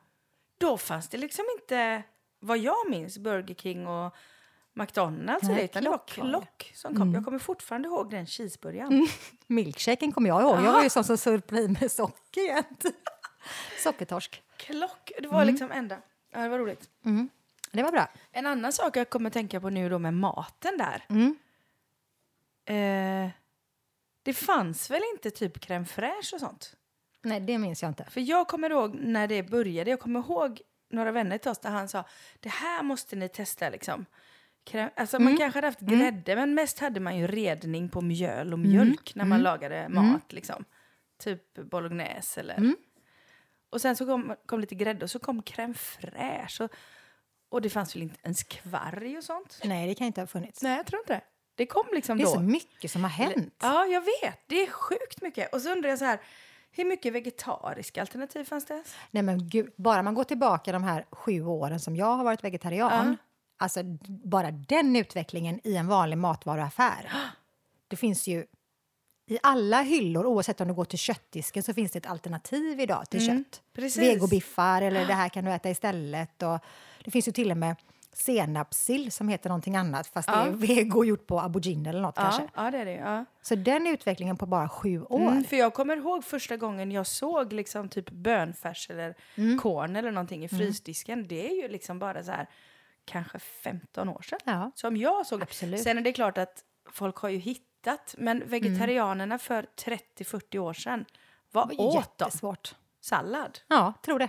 Då fanns det liksom inte, vad jag minns, Burger King och McDonalds och Nej, det, utan det var klock var det. Mm. klock som kom. Jag kommer fortfarande ihåg den cheeseburgaren. Milkshaken kommer jag ihåg. Jag var ju sån som sörplade i mig socker jämt. Sockertorsk. Klock, det var liksom enda. Ja, det var roligt. Mm. Det var bra. En annan sak jag kommer tänka på nu då med maten där. Mm. Eh, det fanns väl inte typ crème fraîche och sånt? Nej, det minns jag inte. För jag kommer ihåg när det började, jag kommer ihåg några vänner till oss där han sa det här måste ni testa liksom. Krä- Alltså man kanske hade haft grädde men mest hade man ju redning på mjöl och mjölk när man lagade mat liksom. Typ bolognese eller... Och sen så kom, kom lite grädde och så kom crème fraîche och, och det fanns väl inte ens kvarg och sånt? Nej, det kan inte ha funnits. Nej, jag tror inte det. Det kom liksom Det är då. så mycket som har hänt. Ja, jag vet. Det är sjukt mycket. Och så undrar jag så här, hur mycket vegetariska alternativ fanns det? ens? Nej, men gud, bara man går tillbaka de här sju åren som jag har varit vegetarian. Alltså, d- bara den utvecklingen i en vanlig matvaruaffär. Det finns ju i alla hyllor, oavsett om du går till köttdisken, så finns det ett alternativ idag till kött. Mm, precis. Vegobiffar eller det här kan du äta istället. Och det finns ju till och med senapssill som heter någonting annat fast det är vego gjort på aubergine eller något kanske. Ja, ja, det är det. Ja. Så den utvecklingen på bara sju år. Mm, för jag kommer ihåg första gången jag såg liksom typ bönfärs eller Mm. korn eller någonting i frysdisken. Det är ju liksom bara så här kanske 15 år sedan Ja. som jag såg det. Absolut. Sen är det klart att folk har ju hittat, men vegetarianerna Mm. för 30-40 år sedan, vad Det var åt de? jättesvårt. Sallad? Ja, tror det.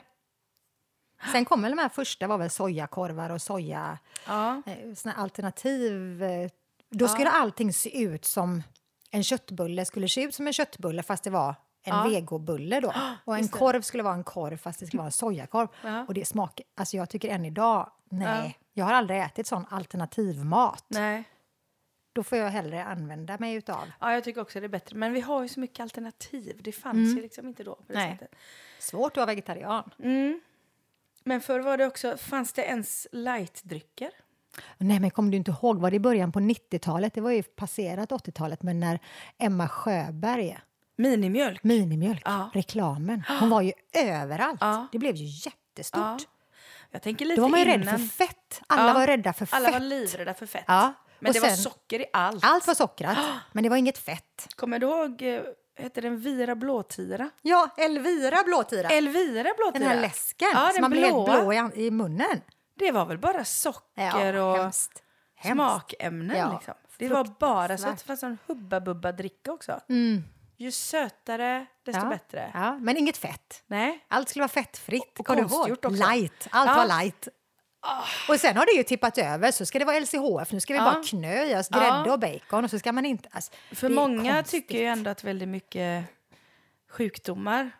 Sen kom väl de här första var väl sojakorvar och soja, Ja. eh, såna alternativ. eh, Då skulle allting se ut som en köttbulle skulle se ut som en köttbulle fast det var en vegobulle då. Och en korv skulle vara en korv fast det skulle vara en sojakorv. Ja. Och det smak, alltså jag tycker än idag, nej. Jag har aldrig ätit sån alternativmat. Nej. Då får jag hellre använda mig utav. Ja, jag tycker också det är bättre. Men vi har ju så mycket alternativ. Det fanns ju liksom inte då på det Mm. Nej. sättet. Svårt att vara vegetarian. Mm. Men förr var det också, fanns det ens lightdrycker? Nej, men kommer du inte ihåg? Var det i början på 90-talet? Det var ju passerat 80-talet, men när Emma Sjöberg, Minimjölk? Minimjölk, Ja. reklamen, hon var ju överallt. Ja. Det blev ju jättestort. Jag tänker lite Då var man ju innan. rädd för fett. Alla Ja. var rädda för Alla fett. var livrädda för fett. Ja. Men Och det var sen- socker i allt. Allt var sockrat, men det var inget fett. Kommer du ihåg, eh, hette den Vira Blåtira? Ja, Elvira blåtira. Elvira Blåtira? den här läsken Ja, som den man blev helt blåa. blå i, an- i munnen. Det var väl bara socker och hemskt. Hemskt. smakämnen Ja, liksom. Det var bara så att det fruktansvärt. Mm. fanns en hubba-bubba-dricka också. Ju sötare, desto ja. bättre. Ja, men inget fett. Nej. Allt skulle vara fettfritt. Och kommer du konstgjort ihåg? också. Light. Allt Ja. Ah. var light. Och sen har det ju tippat över. Så ska det vara LCHF. Nu ska vi Ja. bara knö i oss grädde Ja. och bacon. Och så ska man inte... Alltså, För det är många konstigt. tycker ju ändå att väldigt mycket sjukdomar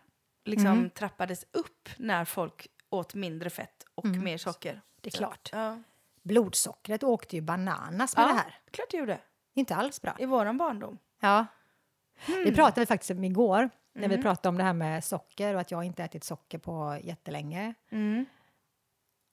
liksom Mm. trappades upp när folk åt mindre fett och Mm. mer socker. Det är klart. Ja. Blodsockret åkte ju bananas med det här. klart det gjorde. Inte alls bra. I våran barndom. Ja. Mm. Det pratade vi faktiskt om igår. När vi pratade om det här med socker och att jag inte ätit socker på jättelänge. Mm.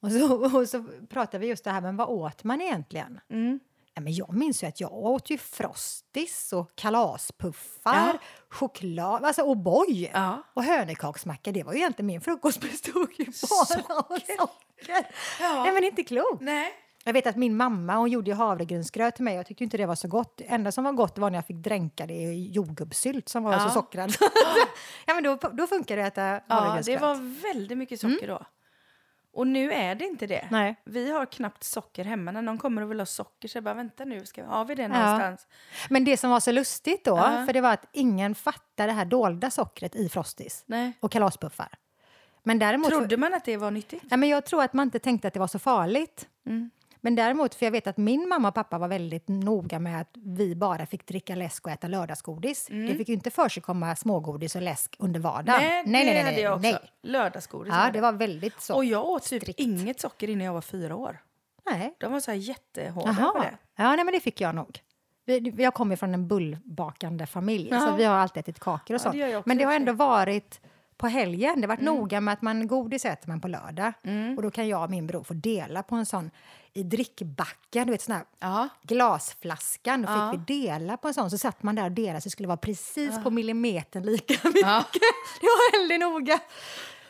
Och, så, och så pratade vi just det här, men vad åt man egentligen? Mm. Nej, men jag minns ju att jag åt ju Frostis och kalaspuffar, Ja. choklad, alltså O'boy Ja. och hönökaksmacka. Det var ju egentligen min frukost bestod ju bara av socker. Ja. Nej, men inte klokt. Nej. Jag vet att min mamma hon gjorde ju havregrynsgröt till mig. Jag tyckte ju inte det var så gott. Det enda som var gott var när jag fick dränka det i jordgubbssylt som var så sockrad. ja, men då, då funkar det att äta Ja, havregrynsgröt. det var väldigt mycket socker då. Och nu är det inte det. Mm. Nej. Vi har knappt socker hemma. När någon kommer och vill ha socker så jag bara vänta nu, ska vi, har vi det Ja. någonstans? Men det som var så lustigt då, Ja. för det var att ingen fattade det här dolda sockret i Frostis Nej. och kalaspuffar. Men däremot... Trodde man att det var nyttigt? Mm. Nej, men jag tror att man inte tänkte att det var så farligt. Men däremot, för jag vet att min mamma och pappa var väldigt noga med att vi bara fick dricka läsk och äta lördagsgodis. Det fick ju inte försigkomma smågodis och läsk under vardagen. Mm. Nej, det nej, nej, hade nej, jag också. nej. Lördagsgodis. Ja, hade det var väldigt så. jag. Och jag åt typ strikt. inget socker innan jag var fyra år. Nej. De var så här jättehårda på Jaha. det. Ja, nej, men det fick jag nog. Vi- Jag kommer från en bullbakande familj, Ja. så vi har alltid ätit kakor och Ja, sånt. det Mm. gör jag också men det har i och för ändå varit på helgen. Det har varit noga med att man godis äter man på lördag. Mm. Och då kan jag och min bror få dela på en sån i drickbacken, du vet sån här Ja. glasflaskan. Då fick Ja. vi dela på en sån. Så satt man där och delade så det skulle vara precis på millimetern lika mycket. Det var väldigt noga.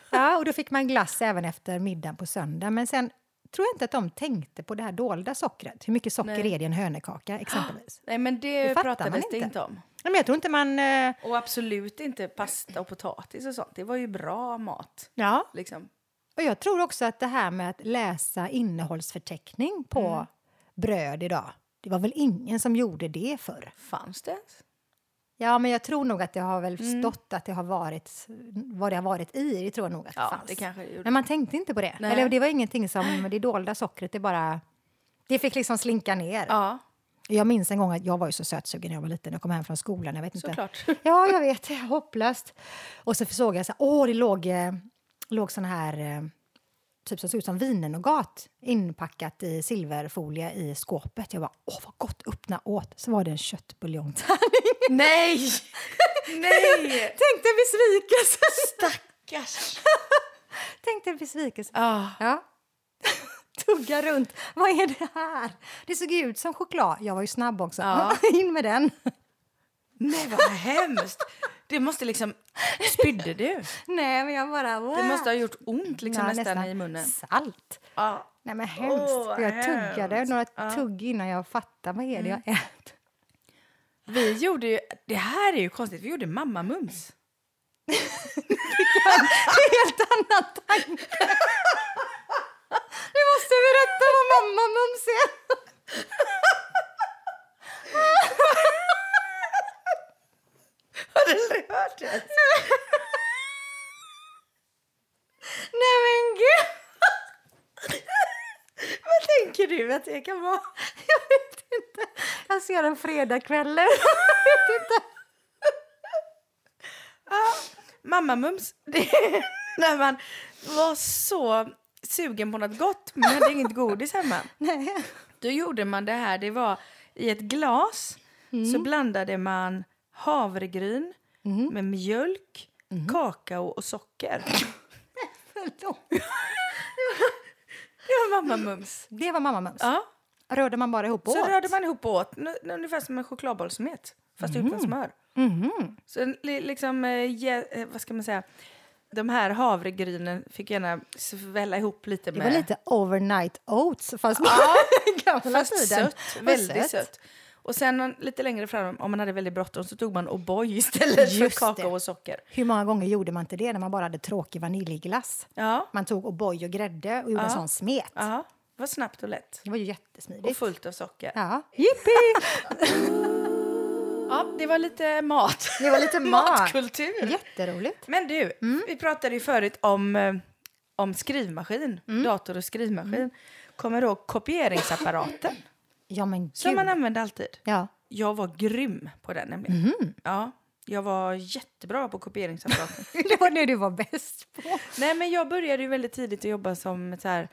Ja, och då fick man glass även efter middagen på söndag. Men sen tror jag inte att de tänkte på det här dolda sockret. Hur mycket socker Nej. är det i en hönökaka exempelvis? Nej, men det, Det fattar man pratades det inte. inte om. Nej, Men jag tror inte man... eh, Och absolut inte pasta och potatis och sånt. Det var ju bra mat. Ja, Liksom. och jag tror också att det här med att läsa innehållsförteckning på Mm. bröd idag. Det var väl ingen som gjorde det förr? Fanns det ens? Ja, men jag tror nog att det har väl Mm. stått att det har varit vad det har varit i. Det tror jag nog att det Ja, fanns. det kanske det gjorde. Men man tänkte inte på det. Nej. Eller det var ingenting som, det dolda sockret, det bara... Det fick liksom slinka ner. Ja, Jag minns en gång att jag var ju så sötsugen när jag var liten. Jag kom hem från skolan, jag vet inte. såklart. Ja, jag vet. Hopplöst. Och så såg jag så här, åh, det låg, eh, låg sån här, eh, typ som såg ut som vinenogat inpackat i silverfolie i skåpet. Jag bara, åh vad gott, öppna åt. Så var det en köttbuljongtärning. Nej! Nej! Tänkte en besvikelse. Stackars! Tänkte en besvikelse. Ah. Ja. Tugga runt. Vad är det här? Det såg ut som choklad. Jag var ju snabb också. Ja. In med den. Nej, vad hemskt! Det måste liksom... Spydde du? Nej, men jag bara... Wow. Det måste ha gjort ont liksom, Ja, nästan, i munnen. Salt. Ja. Nej, men hemskt. Åh, jag tuggade hemskt. Mm. några tugg innan jag fattade vad är det jag äter. Vi gjorde ju... Det här är ju konstigt. Vi gjorde mammamums. Helt annan tanke. Du måste berätta vad mamma mums är. Har du aldrig hört det? Nej, men gud. Vad tänker du att det kan vara? Jag vet inte. Jag ser den fredagskvällen. Jag vet inte. Mammamums, det är när man var så sugen på något gott men hade inget godis hemma. Nej. Då gjorde man det här, det var i ett glas så blandade man havregryn med mjölk, kakao och socker. Förlåt. Det var mammamums. Det var mamma mums. Ja. Rörde man bara ihop Så åt? rörde man ihop åt, nu- nu ungefär som en chokladbollsmet, fast utan Mhm. smör. Så li- liksom, eh, ge, eh, vad ska man säga, de här havregrynen fick gärna svälla ihop lite Det med... var lite overnight oats, fast på gamla Fast tiden. sött, väldigt sött. Och sen någon- lite längre fram, om man hade väldigt bråttom, så tog man O'boy istället för Just kakao det. och socker. Hur många gånger gjorde man inte det när man bara hade tråkig vaniljglass? Ja, Man tog O'boy och grädde och gjorde en sån smet. ja. Det var snabbt och lätt. Det var ju Och jättesmidigt. fullt av socker. Ja, Ja. Jippi! det var lite mat. Det var lite mat. Matkultur. Jätteroligt. Men du, vi pratade ju förut om, eh, om skrivmaskin, dator och skrivmaskin. Kommer du ihåg kopieringsapparaten Ja, men som gud. man använde alltid? Ja. Jag var grym på den nämligen. Ja, jag var jättebra på kopieringsapparaten. Det var det du var bäst på. Nej, men jag började ju väldigt tidigt att jobba som så här,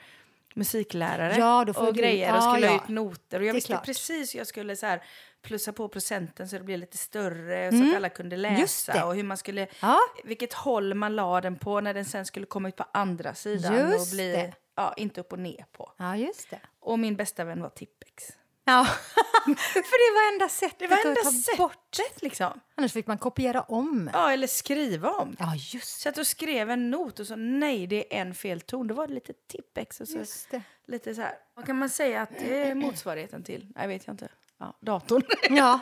musiklärare Ja, då får och du- grejer och ja, skulle ha ja. ut noter. Och jag är visste klart. precis hur jag skulle så här, plussa på procenten så det blev lite större så att alla kunde Mm. Just det. läsa och hur man skulle, Ja. vilket håll man la den på när den sen skulle komma ut på andra sidan Just och bli det. ja, inte upp och ner på. Ja, just det. Och min bästa vän var Tippex. Ja. För det var enda sättet Det var enda att ta bort. sättet liksom. Annars fick man kopiera om. Ja, eller skriva om. Ja, just, Så att du skrev en not och så nej, det är en fel ton. Då var det lite Tippex och så just det. lite så här. Vad kan man säga att det är motsvarigheten till? Nej, vet jag inte. Ja, datorn. Ja,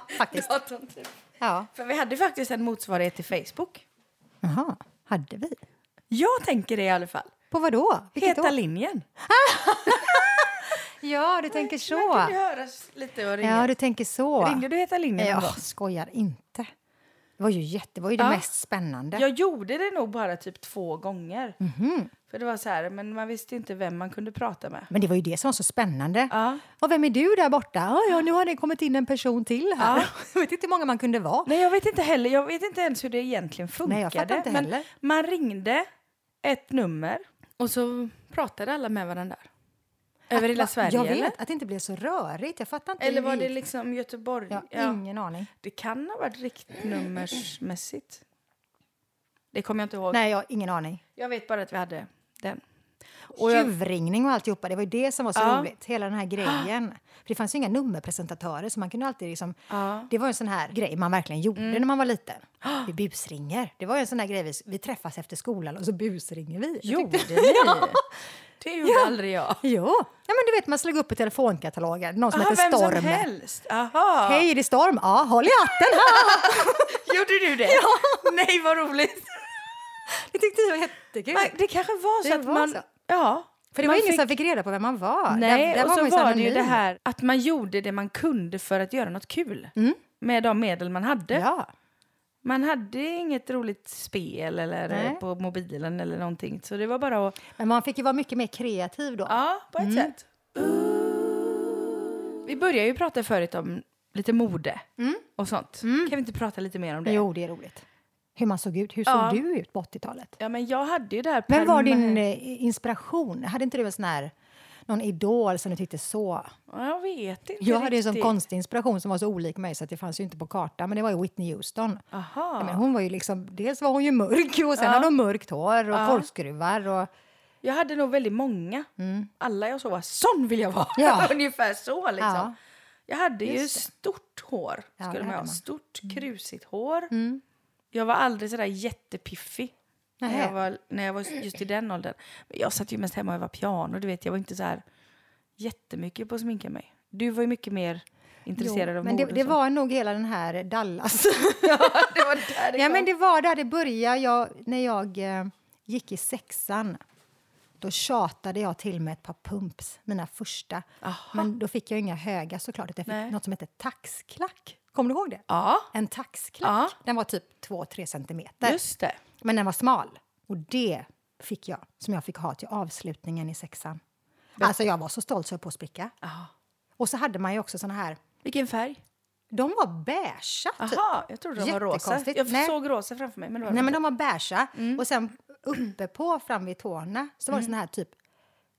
faktiskt. datorn typ. Ja. För vi hade faktiskt en motsvarighet till Facebook. Jaha, hade vi? Jag tänker det i alla fall. På vad då? Vilket Heta år? linjen. Ja, du tänker Där kan så. du höras lite och ringa. Ja, du tänker så. Ringde du Heta linjen någon Ja, gång? skojar inte. Det var ju jätte, det var ju det Ja. mest spännande. Jag gjorde det nog bara typ två gånger. Mhm. För det var så här, men man visste inte vem man kunde prata med. Men det var ju det som var så spännande. Ja. Och vem är du där borta? Ja, ja, nu har det kommit in en person till här. Ja. Jag vet inte hur många man kunde vara. Nej, jag vet inte heller. Jag vet inte ens hur det egentligen funkade. Nej, jag fattar inte men heller. man ringde ett nummer och så pratade alla med varandra. Över hela Att- Sverige, Jag vet eller? att det inte blev så rörigt. Jag fattar inte. Eller var det hur- liksom Göteborg? ja, Ja. Ingen aning. Det kan ha varit riktnummersmässigt. Det kommer jag inte ihåg. Nej, jag har ingen aning. Jag vet bara att vi hade den. Och Och jag- Tjuvringning och alltihopa, det var ju det som var så Ja. roligt. Hela den här grejen. För det fanns ju inga nummerpresentatörer så man kunde alltid liksom... Ja. Mm. Det var ju en sån här grej man verkligen gjorde när man var liten. Vi busringer. Det var ju en sån här grej, vi, vi träffas efter skolan och så busringer vi. Jag Gjorde tyckte- ni? Det gjorde aldrig jag. Jo! Ja, men du vet, man slog upp i telefonkatalogen, någon som Aha, hette Ah, vem Storm. som helst? Aha. Hej, det är Storm! Ja, håll i hatten! Gjorde du det? Nej, vad roligt! Det tyckte jag var jättekul. Men Det kanske var så Det att var man... så. Ja. För det man var ingen fick- som fick reda på vem man var. Nej, och så man ju var det ju anonym. det här att man gjorde det man kunde för att göra något kul. Med de medel man hade. Mm. Ja. Man hade inget roligt spel eller eh, Nej. på mobilen eller någonting. Så det var bara att... Men man fick ju vara mycket mer kreativ då. Ja, på ett Mm. sätt. Vi började ju prata förut om lite mode och sånt. Kan vi inte prata lite mer om det? Mm. Jo, det är roligt. Hur man såg ut. Hur såg Ja. du ut på 80-talet? Ja, men jag hade ju det här... Vem var perma- din eh, inspiration? Hade inte du en sån här, någon idol som du tyckte så? Ja, Jag vet inte Jag hade ju som riktigt. konstig inspiration som var så olik mig så att det fanns ju inte på kartan, men det var ju Whitney Houston. Aha. Ja, men hon var ju liksom, dels var hon ju mörk och sen hade hon mörkt hår och korkskruvar och Jag hade nog väldigt många. Alla jag såg var sån vill jag vara. Mm. Ja. Ungefär så liksom. Ja. Jag hade ju Just stort hår. Ja, det skulle man hade ha. man. Mm. Stort krusigt hår. Jag var aldrig sådär jättepiffig. När Nähä. jag, var, när jag var just i den åldern. Men jag satt ju mest hemma och övade piano. Du vet, jag var inte så här jättemycket på att sminka mig. Du var ju mycket mer intresserad av men mode. det, och det så. var nog hela den här Dallas. ja, det var där det ja, kom. men det var där det började. Jag, när jag eh, gick i sexan då tjatade jag till med ett par pumps, mina första. Men då fick jag inga höga såklart. utan Jag Nej. fick något som hette taxklack. Kommer du ihåg det? Ja, En taxklack. Ja. Den var typ 2-3 centimeter. just det. Men den var smal. Och det fick jag, som jag fick ha till avslutningen i sexan. Alltså jag var så stolt så jag höll på att spricka. Ja. Och så hade man ju också såna här, Vilken färg? de var beigea typ. Aha, jag trodde de var rosa. Jättekonstigt. Jag Nej. såg rosa framför mig. Mm. Men det var Nej, men de var beiga. Och sen uppe på fram vid tårna så var Mm. det sån här typ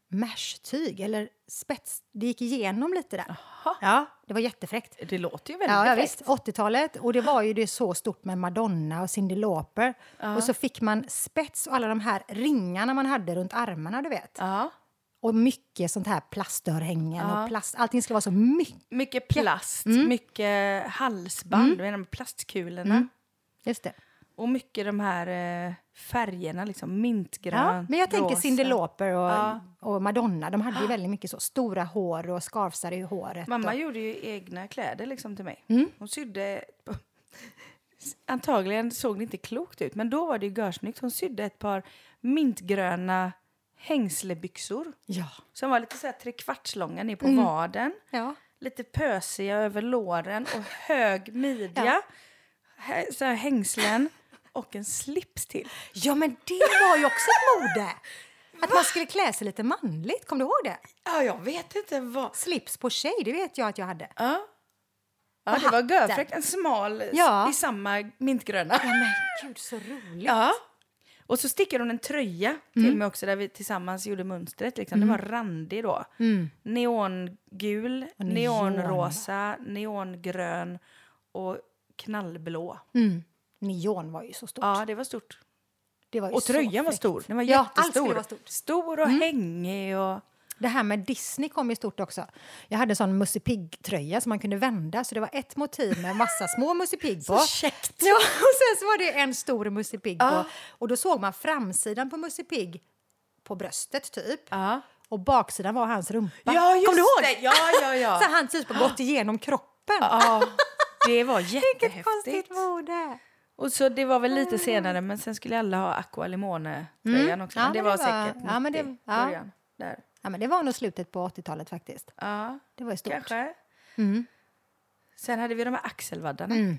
mesh-tyg eller spets. Det gick igenom lite där. Ja, det var jättefräckt. Det låter ju väldigt Ja, ja fräckt. visst. 80-talet. Och det var ju det så stort med Madonna och Cyndi Lauper. Och så fick man spets och alla de här ringarna man hade runt armarna, du vet. Ja. Och mycket sånt här plastörhängen och plast. Allting skulle vara så mycket. Mycket plast, Mm. mycket halsband, mm. de plastkulorna. Just det. Och mycket de här eh, färgerna, liksom mintgrönt, Ja, men jag tänker rosa. Cyndi Lauper och, Ja. Ah. och Madonna. De hade ju väldigt mycket så stora hår och skarvsar i håret. Mamma och, gjorde ju egna kläder liksom till mig. Mm. Hon sydde... Antagligen såg det inte klokt ut, men då var det ju görsnyggt. Hon sydde ett par mintgröna hängslebyxor ja. som var lite så här trekvartslånga ner på Mm. vaden. ja. lite pösiga över låren och hög midja, Ja. hä- så här hängslen och en slips till. Ja, men det var ju också ett mode! Att man skulle klä sig lite manligt. Kommer du ihåg det? Ja, jag vet inte vad. Slips på tjej, det vet jag att jag hade. Ja, ja Och det var hatten. görfräckt. En smal Ja. i samma mintgröna. Ja, men gud, så roligt! Ja. Och så stickade hon en tröja till mig också där vi tillsammans gjorde mönstret. Liksom. Den var randig då. Neongul, Och neon, neonrosa, neongrön och knallblå. Neon var ju så stort. Ja, det var stort. Det var ju Och så tröjan var fräckt. stor. Den var Ja, allt jättestor. skulle vara stort. Stor Mm. och hängig. Och... Det här med Disney kom ju stort också. Jag hade en sån Musse Pigg-tröja som man kunde vända, så det var ett motiv med massa små Musse Pigg på. käckt. Ja, och sen så var det en stor Musse Pigg på. Och då såg man framsidan på Musse Pigg på bröstet, typ. Ja. Och baksidan var hans rumpa. Ja, just Kommer du ihåg? det. Ja, ja, ja. så han typ har gått igenom kroppen. ja. Det var Vilket konstigt jättehäftigt. mode! Och så det var väl lite senare, men sen skulle alla ha Aqua Limone-tröjan också. Men Mm. Ja, det, men var det var- säkert ja, men det- 90, ja. början. Där. Ja, men det var nog slutet på 80-talet faktiskt. Ja, Det var ju stort. Mm. kanske. Sen hade vi de här axelvaddarna.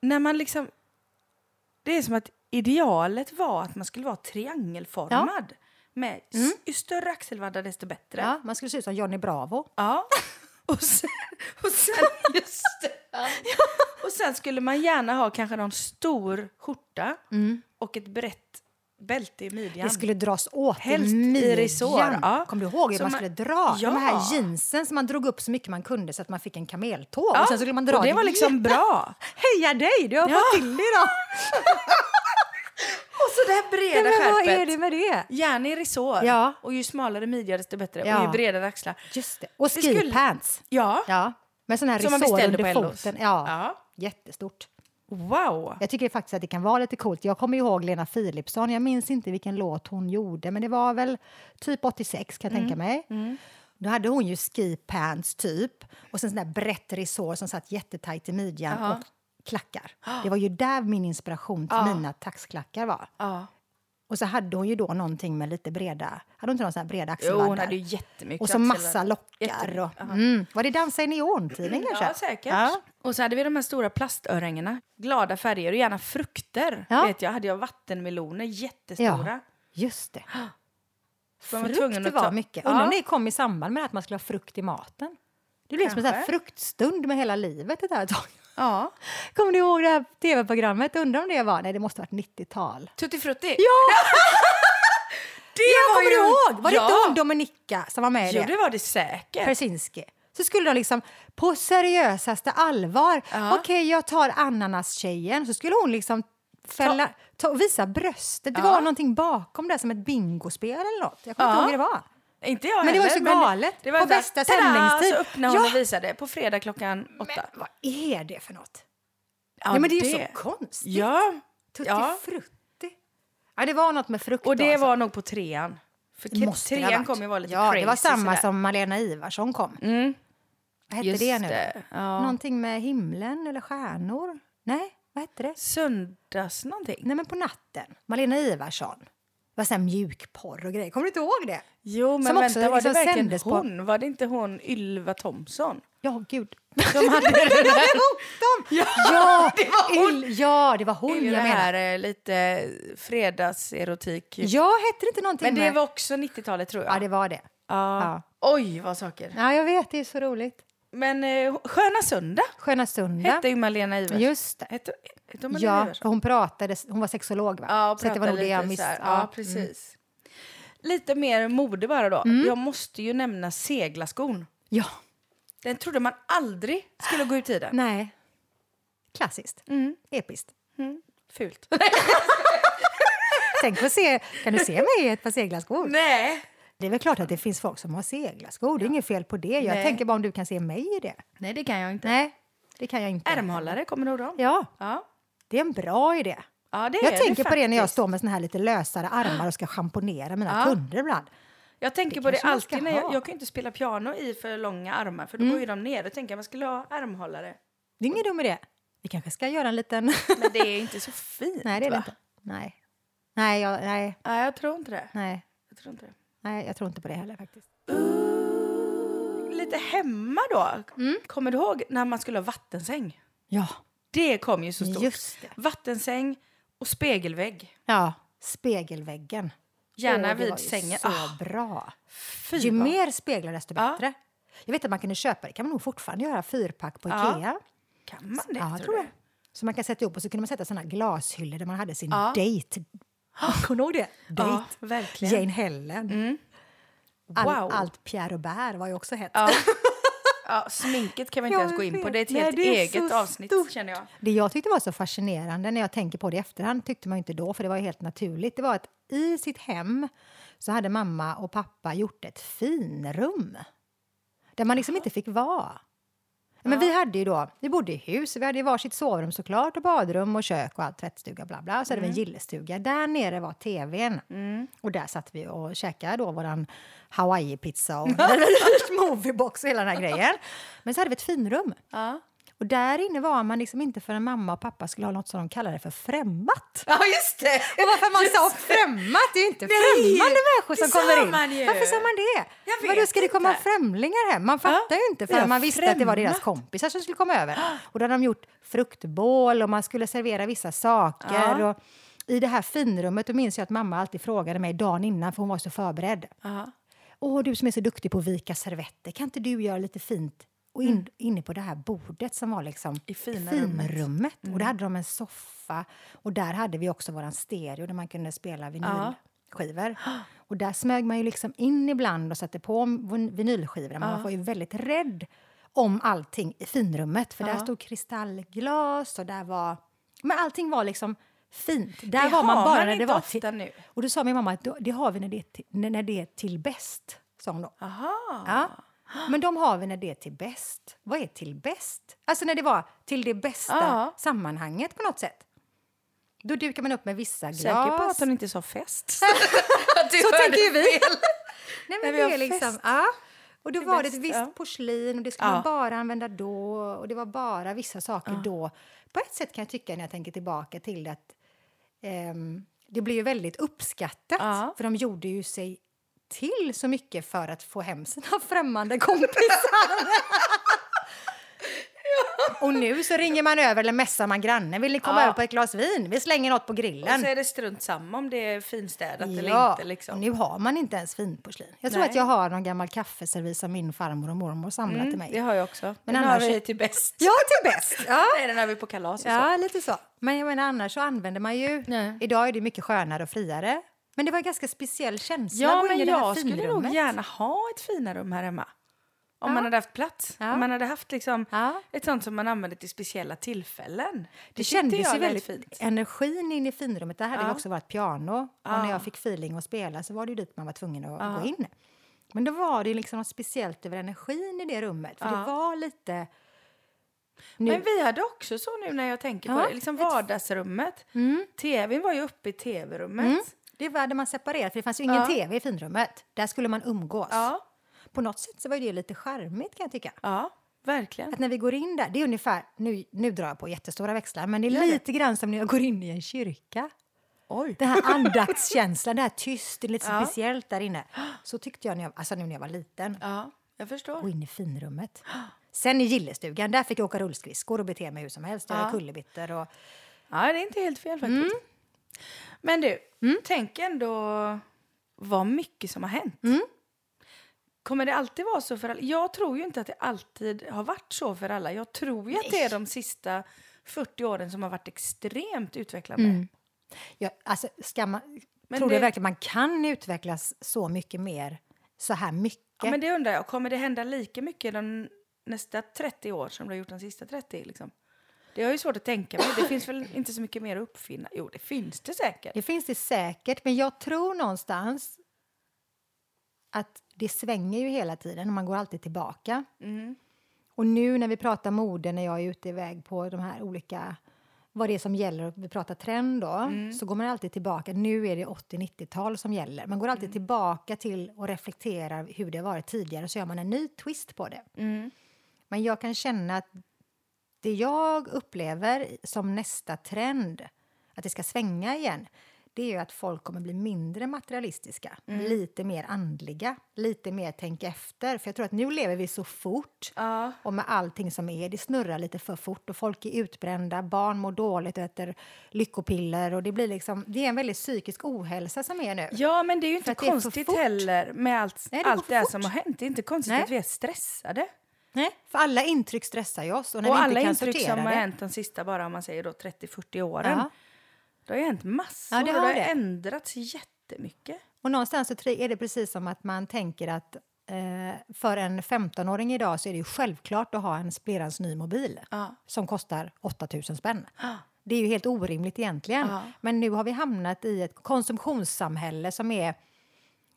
när man liksom... Det är som att idealet var att man skulle vara triangelformad. Med s- ju större axelvaddar desto bättre. Mm. Ja, man skulle se ut som Johnny Bravo. Ja. Och sen, och, sen, Just och sen skulle man gärna ha kanske någon stor skjorta och ett brett bälte i midjan. Mm. Det skulle dras åt Helst i i midjan. resår, ja. Kommer du ihåg hur Så man man- skulle dra? Ja. De här jeansen som man drog upp så mycket man kunde så att man fick en kameltå. Ja, Och sen skulle man dra och det var liksom bra. Heja dig! Du har Ja. fått till det idag! Och så det här Nej, breda skärpet. men vad är det med det? Gärna i resår. Ja. Och ju smalare midja desto bättre. Ja. Och ju bredare axlar. Just det. Och Det skulle- skipants. Ja. Ja. Med sån här Som man resår beställde under på Ellos. foten. Ja. Ja. Jättestort. Wow. Jag tycker faktiskt att det kan vara lite coolt. Jag kommer ihåg Lena Philipsson. Jag minns inte vilken låt hon gjorde, men det var väl typ 86 kan jag Mm, tänka mig. Då hade hon ju ski pants typ och sen sån där brett resår som satt jättetajt i midjan Ja. och klackar. Det var ju där min inspiration till Ja. mina taxklackar var. Ja. Och så hade hon ju då någonting med lite breda, hade hon inte någon sån här breda Jo, axelvaddar? hon hade ju jättemycket Och så massa axelvaddar. lockar. Och, mm. Var det Dansa i neontiden kanske? Mm, Ja, säkert. Ja. Och så hade vi de här stora plastörhängena. Glada färger och gärna frukter. Ja. Vet jag hade jag vattenmeloner, jättestora. Just det. Man var Frukt tvungen att var ta- mycket. Ja. Undrar om det kom i samband med att man skulle ha frukt i maten. Det blev som en sån här Kanske. fruktstund med hela livet det där ett tag. Ja. Kommer du ihåg det här tv-programmet? Undrar om det var... Nej, det måste ha varit 90-tal. Tutti frutti. Ja, det jag kommer du ihåg! Var det ja. inte hon Dominika som var med i Jo, det? det var det säkert. Persinski. Så skulle de liksom på seriösaste allvar. Ja. Okej, jag tar ananas-tjejen. Så skulle hon liksom fälla, ta, visa bröstet. Det Ja. var någonting bakom där som ett bingospel eller något. Jag kommer Ja. inte ihåg hur det var. Inte jag Men det var ju heller, så galet. Det var På så här, bästa "Tada!" sändningstid. Så öppnade hon Ja. och visade på fredag klockan åtta. Vad är det för något? Eh, Ja, Nej, men det är ju så konstigt. Ja. Tutti ja. frutti. Ja, det var något med frukt. Och då, det alltså. var nog på trean. För Det måste det ha trean varit. kommer ju vara lite Ja, crazy. det var samma sådär. som Malena Ivarsson kom. Mm, Vad hette just det nu? då? Ja. Någonting med himlen eller stjärnor? Nej, vad hette det? Söndags någonting. Nej, men på natten. Malena Ivarsson. Det var sån här mjukporr och grejer. Kommer du inte ihåg det? Jo, men Som också vänta, var liksom det verkligen sändes på- hon? Var det inte hon Ylva Thomsson? Ja, gud. Som hade det Jag där? hade ihop dem! Ja, det var hon, ja, det var Det är hon ju det jag menar. här eh, lite fredagserotik. Ja, hette det inte någonting Men det med... var också 90-talet tror jag. Ja, det var det. Ja. Ja. Oj, vad saker. ja, jag vet. Det är så roligt. Men eh, Sköna Söndag Sköna Sunda. hette ju Malena Iversson. Just det. Hette, hette hon Malena Ja, Iversson? hon pratade, hon var sexolog va? Ja, och så mm. att prata det var nog lite det jag så missade. här. Ja, precis. Lite mer mode bara då. Mm. Jag måste ju nämna seglarskon. ja, Den trodde man aldrig skulle gå ur tiden. nej. Klassiskt. Mm. Episkt. Fult. Tänk att se, kan du se mig i ett par seglarskor? Nej. Det är väl klart att det finns folk som har seglarskor, det är inget fel på det. Jag Nej. tänker bara om du kan se mig i det. Nej, det kan jag inte. Nej, det kan jag inte. Ärmhållare, kommer du ihåg dem? Ja, Ja. det är en bra idé. ja, det är Jag tänker det på det när jag faktiskt. står med såna här lite lösare armar och ska schamponera mina Ja. kunder ibland. Jag tänker Det på det kanske man ska alltid. När jag, ha. Mm. jag kan ju inte spela piano i för långa armar för då går ju de ner. Då tänker jag man skulle ha ärmhållare. Det är ingen dum idé. Vi kanske ska göra en liten... Men det är inte så fint, nej, det är det va? inte. Nej. Nej, jag, nej, Nej, jag tror inte det. nej. Jag tror inte det. Nej, jag tror inte på det heller faktiskt. Lite hemma då. Kommer du ihåg när man skulle ha vattensäng? Ja, Det kom ju så stort. just det. Vattensäng och spegelvägg. Ja, spegelväggen. Gärna Åh, det var vid ju sängen. Så Ah, bra. fy Ju vad- mer speglar desto Ja. bättre. Jag vet att man kunde köpa, det kan man nog fortfarande göra, fyrpack på Ja. Ikea. Kan man det? Ja, tror jag. Så man kan sätta ihop och så kunde man sätta såna glashyllor där man hade sin Ja. dejt. Kommer du ihåg det? Ja, Dejt. verkligen. Mm. Jane Helen. All, Wow. Allt Pierre Robert var ju också hett. Ja. ja, sminket kan vi inte Jag ens gå in på. vet. Det är ett Nej, helt det är eget så avsnitt stort. känner jag. Det jag tyckte var så fascinerande när jag tänker på det i efterhand tyckte man ju inte då, för det var ju helt naturligt. Det var att i sitt hem så hade mamma och pappa gjort ett finrum där man liksom inte fick vara. Ja, Men vi hade ju då, vi bodde i hus, vi hade ju varsitt sovrum såklart och badrum och kök och allt, tvättstuga bla bla. Och så hade vi en gillestuga. Där nere var tvn. Och där satt vi och käkade då våran hawaii-pizza och moviebox och hela den här grejen. Men så hade vi ett finrum. Ja. Och där inne var man liksom inte förrän mamma och pappa skulle ha något som de kallade för främmat. Ja, just det! Och varför man sa främmat, det är ju inte Nej, främmande människor det som sa kommer in. man ju. Varför sa man det? Jag vet Vadå, ska det komma inte. främlingar hem? Man fattar ju inte förrän ja, man visste att det var deras främmat. kompisar som skulle komma över. Och då hade de gjort fruktbål och man skulle servera vissa saker. Ja. Och I det här finrummet då minns jag att mamma alltid frågade mig dagen innan för hon var så förberedd. Ja. Åh, du som är så duktig på att vika servetter, kan inte du göra lite fint? Och in, inne på det här bordet som var liksom Mm. I fina rummet. Mm. finrummet. Och där hade de en soffa och där hade vi också våran stereo där man kunde spela vinylskivor. Och där smög man ju liksom in ibland och satte på vin- vinylskivorna. Men man var ju väldigt rädd om allting i finrummet. För där stod kristallglas och där var... Men allting var liksom fint. Där Det var man har bara man när det inte var ofta till- nu. Och då sa min mamma att då- det har vi när det är till, när när det är till bäst. Sa hon då. Aha. Ja. Ah. Men de har vi när det är till bäst. Vad är till bäst? Alltså när det var till det bästa Ja. sammanhanget på något sätt. Då dukar man upp med vissa glas. Säker på att hon inte sa fest? Så tänker ju vi. Nej, men vi det har är liksom, fest. ja. Och då är var det bäst, ett visst ja. porslin och det skulle Ja. man bara använda då och det var bara vissa saker då. På ett sätt kan jag tycka när jag tänker tillbaka till det att ehm, det blev ju väldigt uppskattat Ja. för de gjorde ju sig till så mycket för att få hem sina främmande kompisar. Och nu så ringer man över eller messar man grannen. Vill ni komma Ja. över på ett glas vin? Vi slänger något på Och så grillen. är det strunt samma om det är finstädat eller Ja, inte. och Liksom. nu har man inte ens finporslin. Jag tror Nej. att jag har någon gammal kaffeservis som min farmor och mormor samlat till mig. Mm, Det har jag också. Men Men den har annars- vi till bäst. Ja, till bäst! Ja. Nej, den har vi på kalas och så. ja, lite så. Men jag menar, annars så använder man ju... Nej. Idag är det mycket skönare och friare. Men det var en ganska speciell känsla att Ja, gå in men i det här jag skulle nog finrummet. gärna ha ett fina rum här hemma. Om man hade haft plats. Ja. Om man hade haft liksom Ja. ett sånt som man använder till speciella tillfällen. Det, Det tyckte kändes jag ju lät väldigt fint. Energin in i finrummet. Där hade Ja. vi också varit piano. Och när Ja. jag fick feeling att spela så var det ju dit man var tvungen att gå in. Men då var det ju liksom något speciellt över energin i det rummet. För det Ja. var lite... Nu- Men vi hade också så nu när jag tänker på Ja, det. Liksom ett- Mm. vardagsrummet. TVn var ju uppe i TV-rummet. Det var där man separerade, för det fanns ju ingen Ja. tv i finrummet. Där skulle man umgås. Ja, På något sätt så var ju det lite charmigt kan jag tycka. ja, verkligen. Att när vi går in där, det är ungefär, nu, nu drar jag på jättestora växlar, men det är Gör det. lite grann som när jag går in i en kyrka. Oj. Den här andaktskänslan, det här tyst, det är lite Ja. speciellt där inne. Så tyckte jag, när jag alltså nu när jag var liten, Ja, jag förstår. och in i finrummet. Sen i gillestugan, där fick jag åka rullskridskor och bete mig hur som helst. Jag Ja. var kullerbyttor och... Ja, det är inte helt fel faktiskt. Men du, tänk ändå vad mycket som har hänt. Kommer det alltid vara så för alla? Jag tror ju inte att det alltid har varit så för alla. Jag tror ju att det är de sista 40 åren som har varit extremt utvecklande. Jag, alltså, ska man, Men tror du det- verkligen man kan utvecklas så mycket mer, så här mycket? Ja, men det undrar jag, kommer det hända lika mycket de nästa 30 år som det har gjort de sista 30? Liksom? Det har ju svårt att tänka mig. Det finns väl inte så mycket mer att uppfinna? Jo, det finns det säkert. Det finns det säkert, men jag tror någonstans att det svänger ju hela tiden och man går alltid tillbaka. Mm. Och nu när vi pratar mode, när jag är ute iväg på de här olika vad det är som gäller, och vi pratar trend då, Mm. så går man alltid tillbaka. Nu är det 80-90-tal som gäller. Man går alltid Mm. tillbaka till och reflekterar hur det har varit tidigare, så gör man en ny twist på det. Mm. Men jag kan känna att det jag upplever som nästa trend, att det ska svänga igen, det är ju att folk kommer bli mindre materialistiska, Mm. lite mer andliga, lite mer tänka efter. För jag tror att nu lever vi så fort Ja. och med allting som är, det snurrar lite för fort och folk är utbrända, barn mår dåligt och äter lyckopiller och det blir liksom, det är en väldigt psykisk ohälsa som är nu. Ja, men det är ju inte att det är för konstigt fort. heller med allt Nej, det det, går allt för det här fort. som har hänt. Det är inte konstigt Nej. att vi är stressade. Nej. För alla intryck stressar ju oss och när och vi alla inte kan intryck sortera som har det. hänt de sista bara om man säger då 30-40 åren. Ja. Det har ju hänt massor Ja, det har och det har det. ändrats jättemycket. Och någonstans så tri- är det precis som att man tänker att eh, för en 15-åring idag så är det ju självklart att ha en sperans ny mobil Ja. som kostar 8000 spänn. Det är ju helt orimligt egentligen. Ja. Men nu har vi hamnat i ett konsumtionssamhälle som är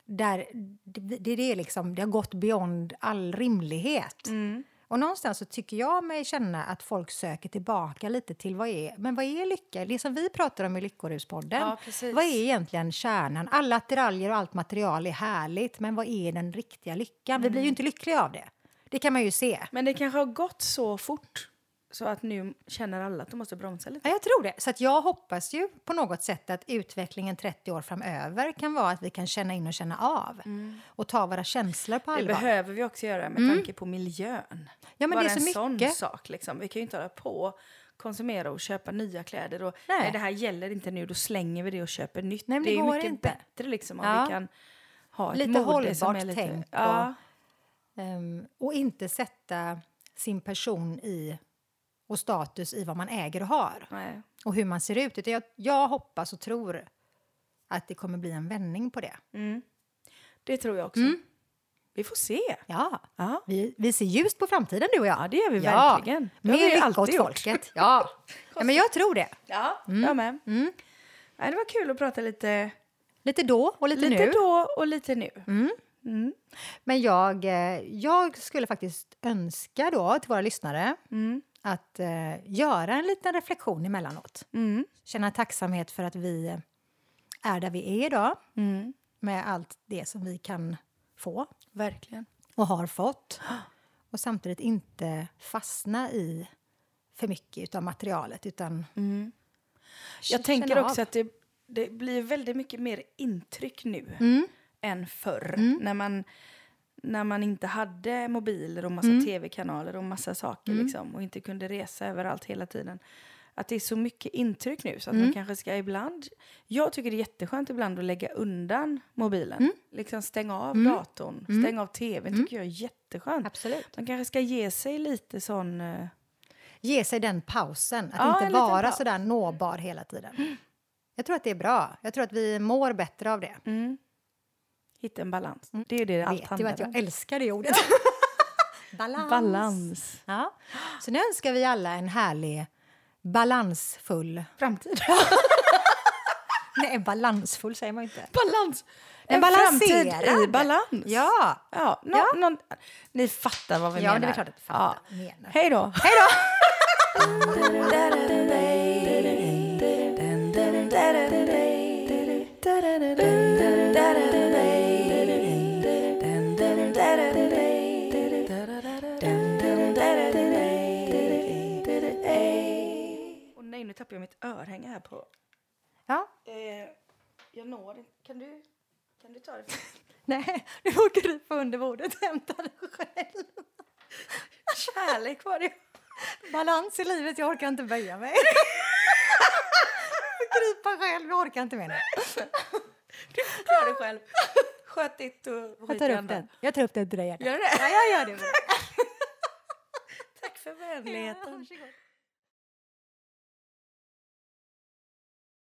där det, det, det, är liksom, det har gått beyond all rimlighet. Mm. Och någonstans så tycker jag mig känna att folk söker tillbaka lite till vad är, men vad är lycka? Det som vi pratar om i Lyckoruspodden. Ja, precis. vad är egentligen kärnan? Alla attiraljer och allt material är härligt, men vad är den Mm. riktiga lyckan? Vi blir ju inte lyckliga av det. Det kan man ju se. Men det kanske har gått så fort Så att nu känner alla att de måste bromsa lite. Ja, jag tror det. Så att jag hoppas ju på något sätt att utvecklingen 30 år framöver kan vara att vi kan känna in och känna av och ta våra känslor på Det allvar. Mm. behöver Mm. vi också göra med tanke på miljön. Ja, men Bara det är så en sån mycket. sak. Liksom. Vi kan ju inte hålla på och konsumera och köpa nya kläder. Och, nej. Nej. det här gäller inte nu, då slänger vi det och köper nytt. Nej, men det det är ju går mycket inte. bättre liksom, om Ja. vi kan ha ett Lite mode som är hållbart lite, tänk och- Ja, Ehm, och inte sätta sin person i och status i vad man äger och har nej. och hur man ser ut. Utan jag, jag hoppas och tror att det kommer bli en vändning på det. Mm. Det tror jag också. Vi får se. Mm. Ja, Ja, vi, vi ser ljust på framtiden, du och jag. ja det gör vi Ja, verkligen. Det har vi Mer ju lycka alltid åt gjort. folket. Ja. ja, men jag tror det. Ja, Mm. jag med. Nej, det var kul att prata lite, Lite då och lite, lite, nu. då och lite nu. Mm. Men jag, eh, jag skulle faktiskt önska då till våra lyssnare Mm. att eh, göra en liten reflektion emellanåt. Mm. Känna tacksamhet för att vi är där vi är idag Mm. med allt det som vi kan få Verkligen. och har fått. Och samtidigt inte fastna i för mycket av materialet utan Mm. k- Jag tänker känna också av. att det, det blir väldigt mycket mer intryck nu Mm. än förr. Mm. När, man, när man inte hade mobiler och massa Mm. tv-kanaler och massa saker Mm. liksom, och inte kunde resa överallt hela tiden. Att det är så mycket intryck nu så att man Mm. kanske ska ibland... Jag tycker det är jätteskönt ibland att lägga undan mobilen. Liksom stänga av Mm. datorn, Mm. stänga av tvn tycker jag är jätteskönt. Absolut. Man kanske ska ge sig lite sån... eh, Ge sig den pausen, att Ja, en inte liten vara paus. så där nåbar hela tiden. Jag tror att det är bra. Jag tror att vi mår bättre av det. Mm. Hitta en balans. Det är ju det det Mm. Jag allt vet ju handlar att om. jag älskar det ordet. balans. Balans. Ja. Så nu önskar vi alla en härlig, balansfull... Framtid. Nej, balansfull säger man inte. balans! En En framtid i balanserad. balans. Ja! Ja, nå- Någon, ni fattar vad vi Ja, menar. det är klart att jag fattar vad du menar. Hej då! Hej då! Åh nej, nu tappar jag mitt örhänge här på... Ja. Eh, jag når inte. Kan du, kan du ta det? Nej, nu åker du på underbordet och hämtar dig själv. Kärlek var det. Balans i livet, jag orkar inte böja mig. Krypa själv, jag orkar inte mer nu. Klara dig själv. Sköt ditt eh, och Jag skit tar i upp andra. den. Jag tar upp den till dig. Edna. Gör det? Ja, jag gör det. Tack för vänligheten. Varsågod.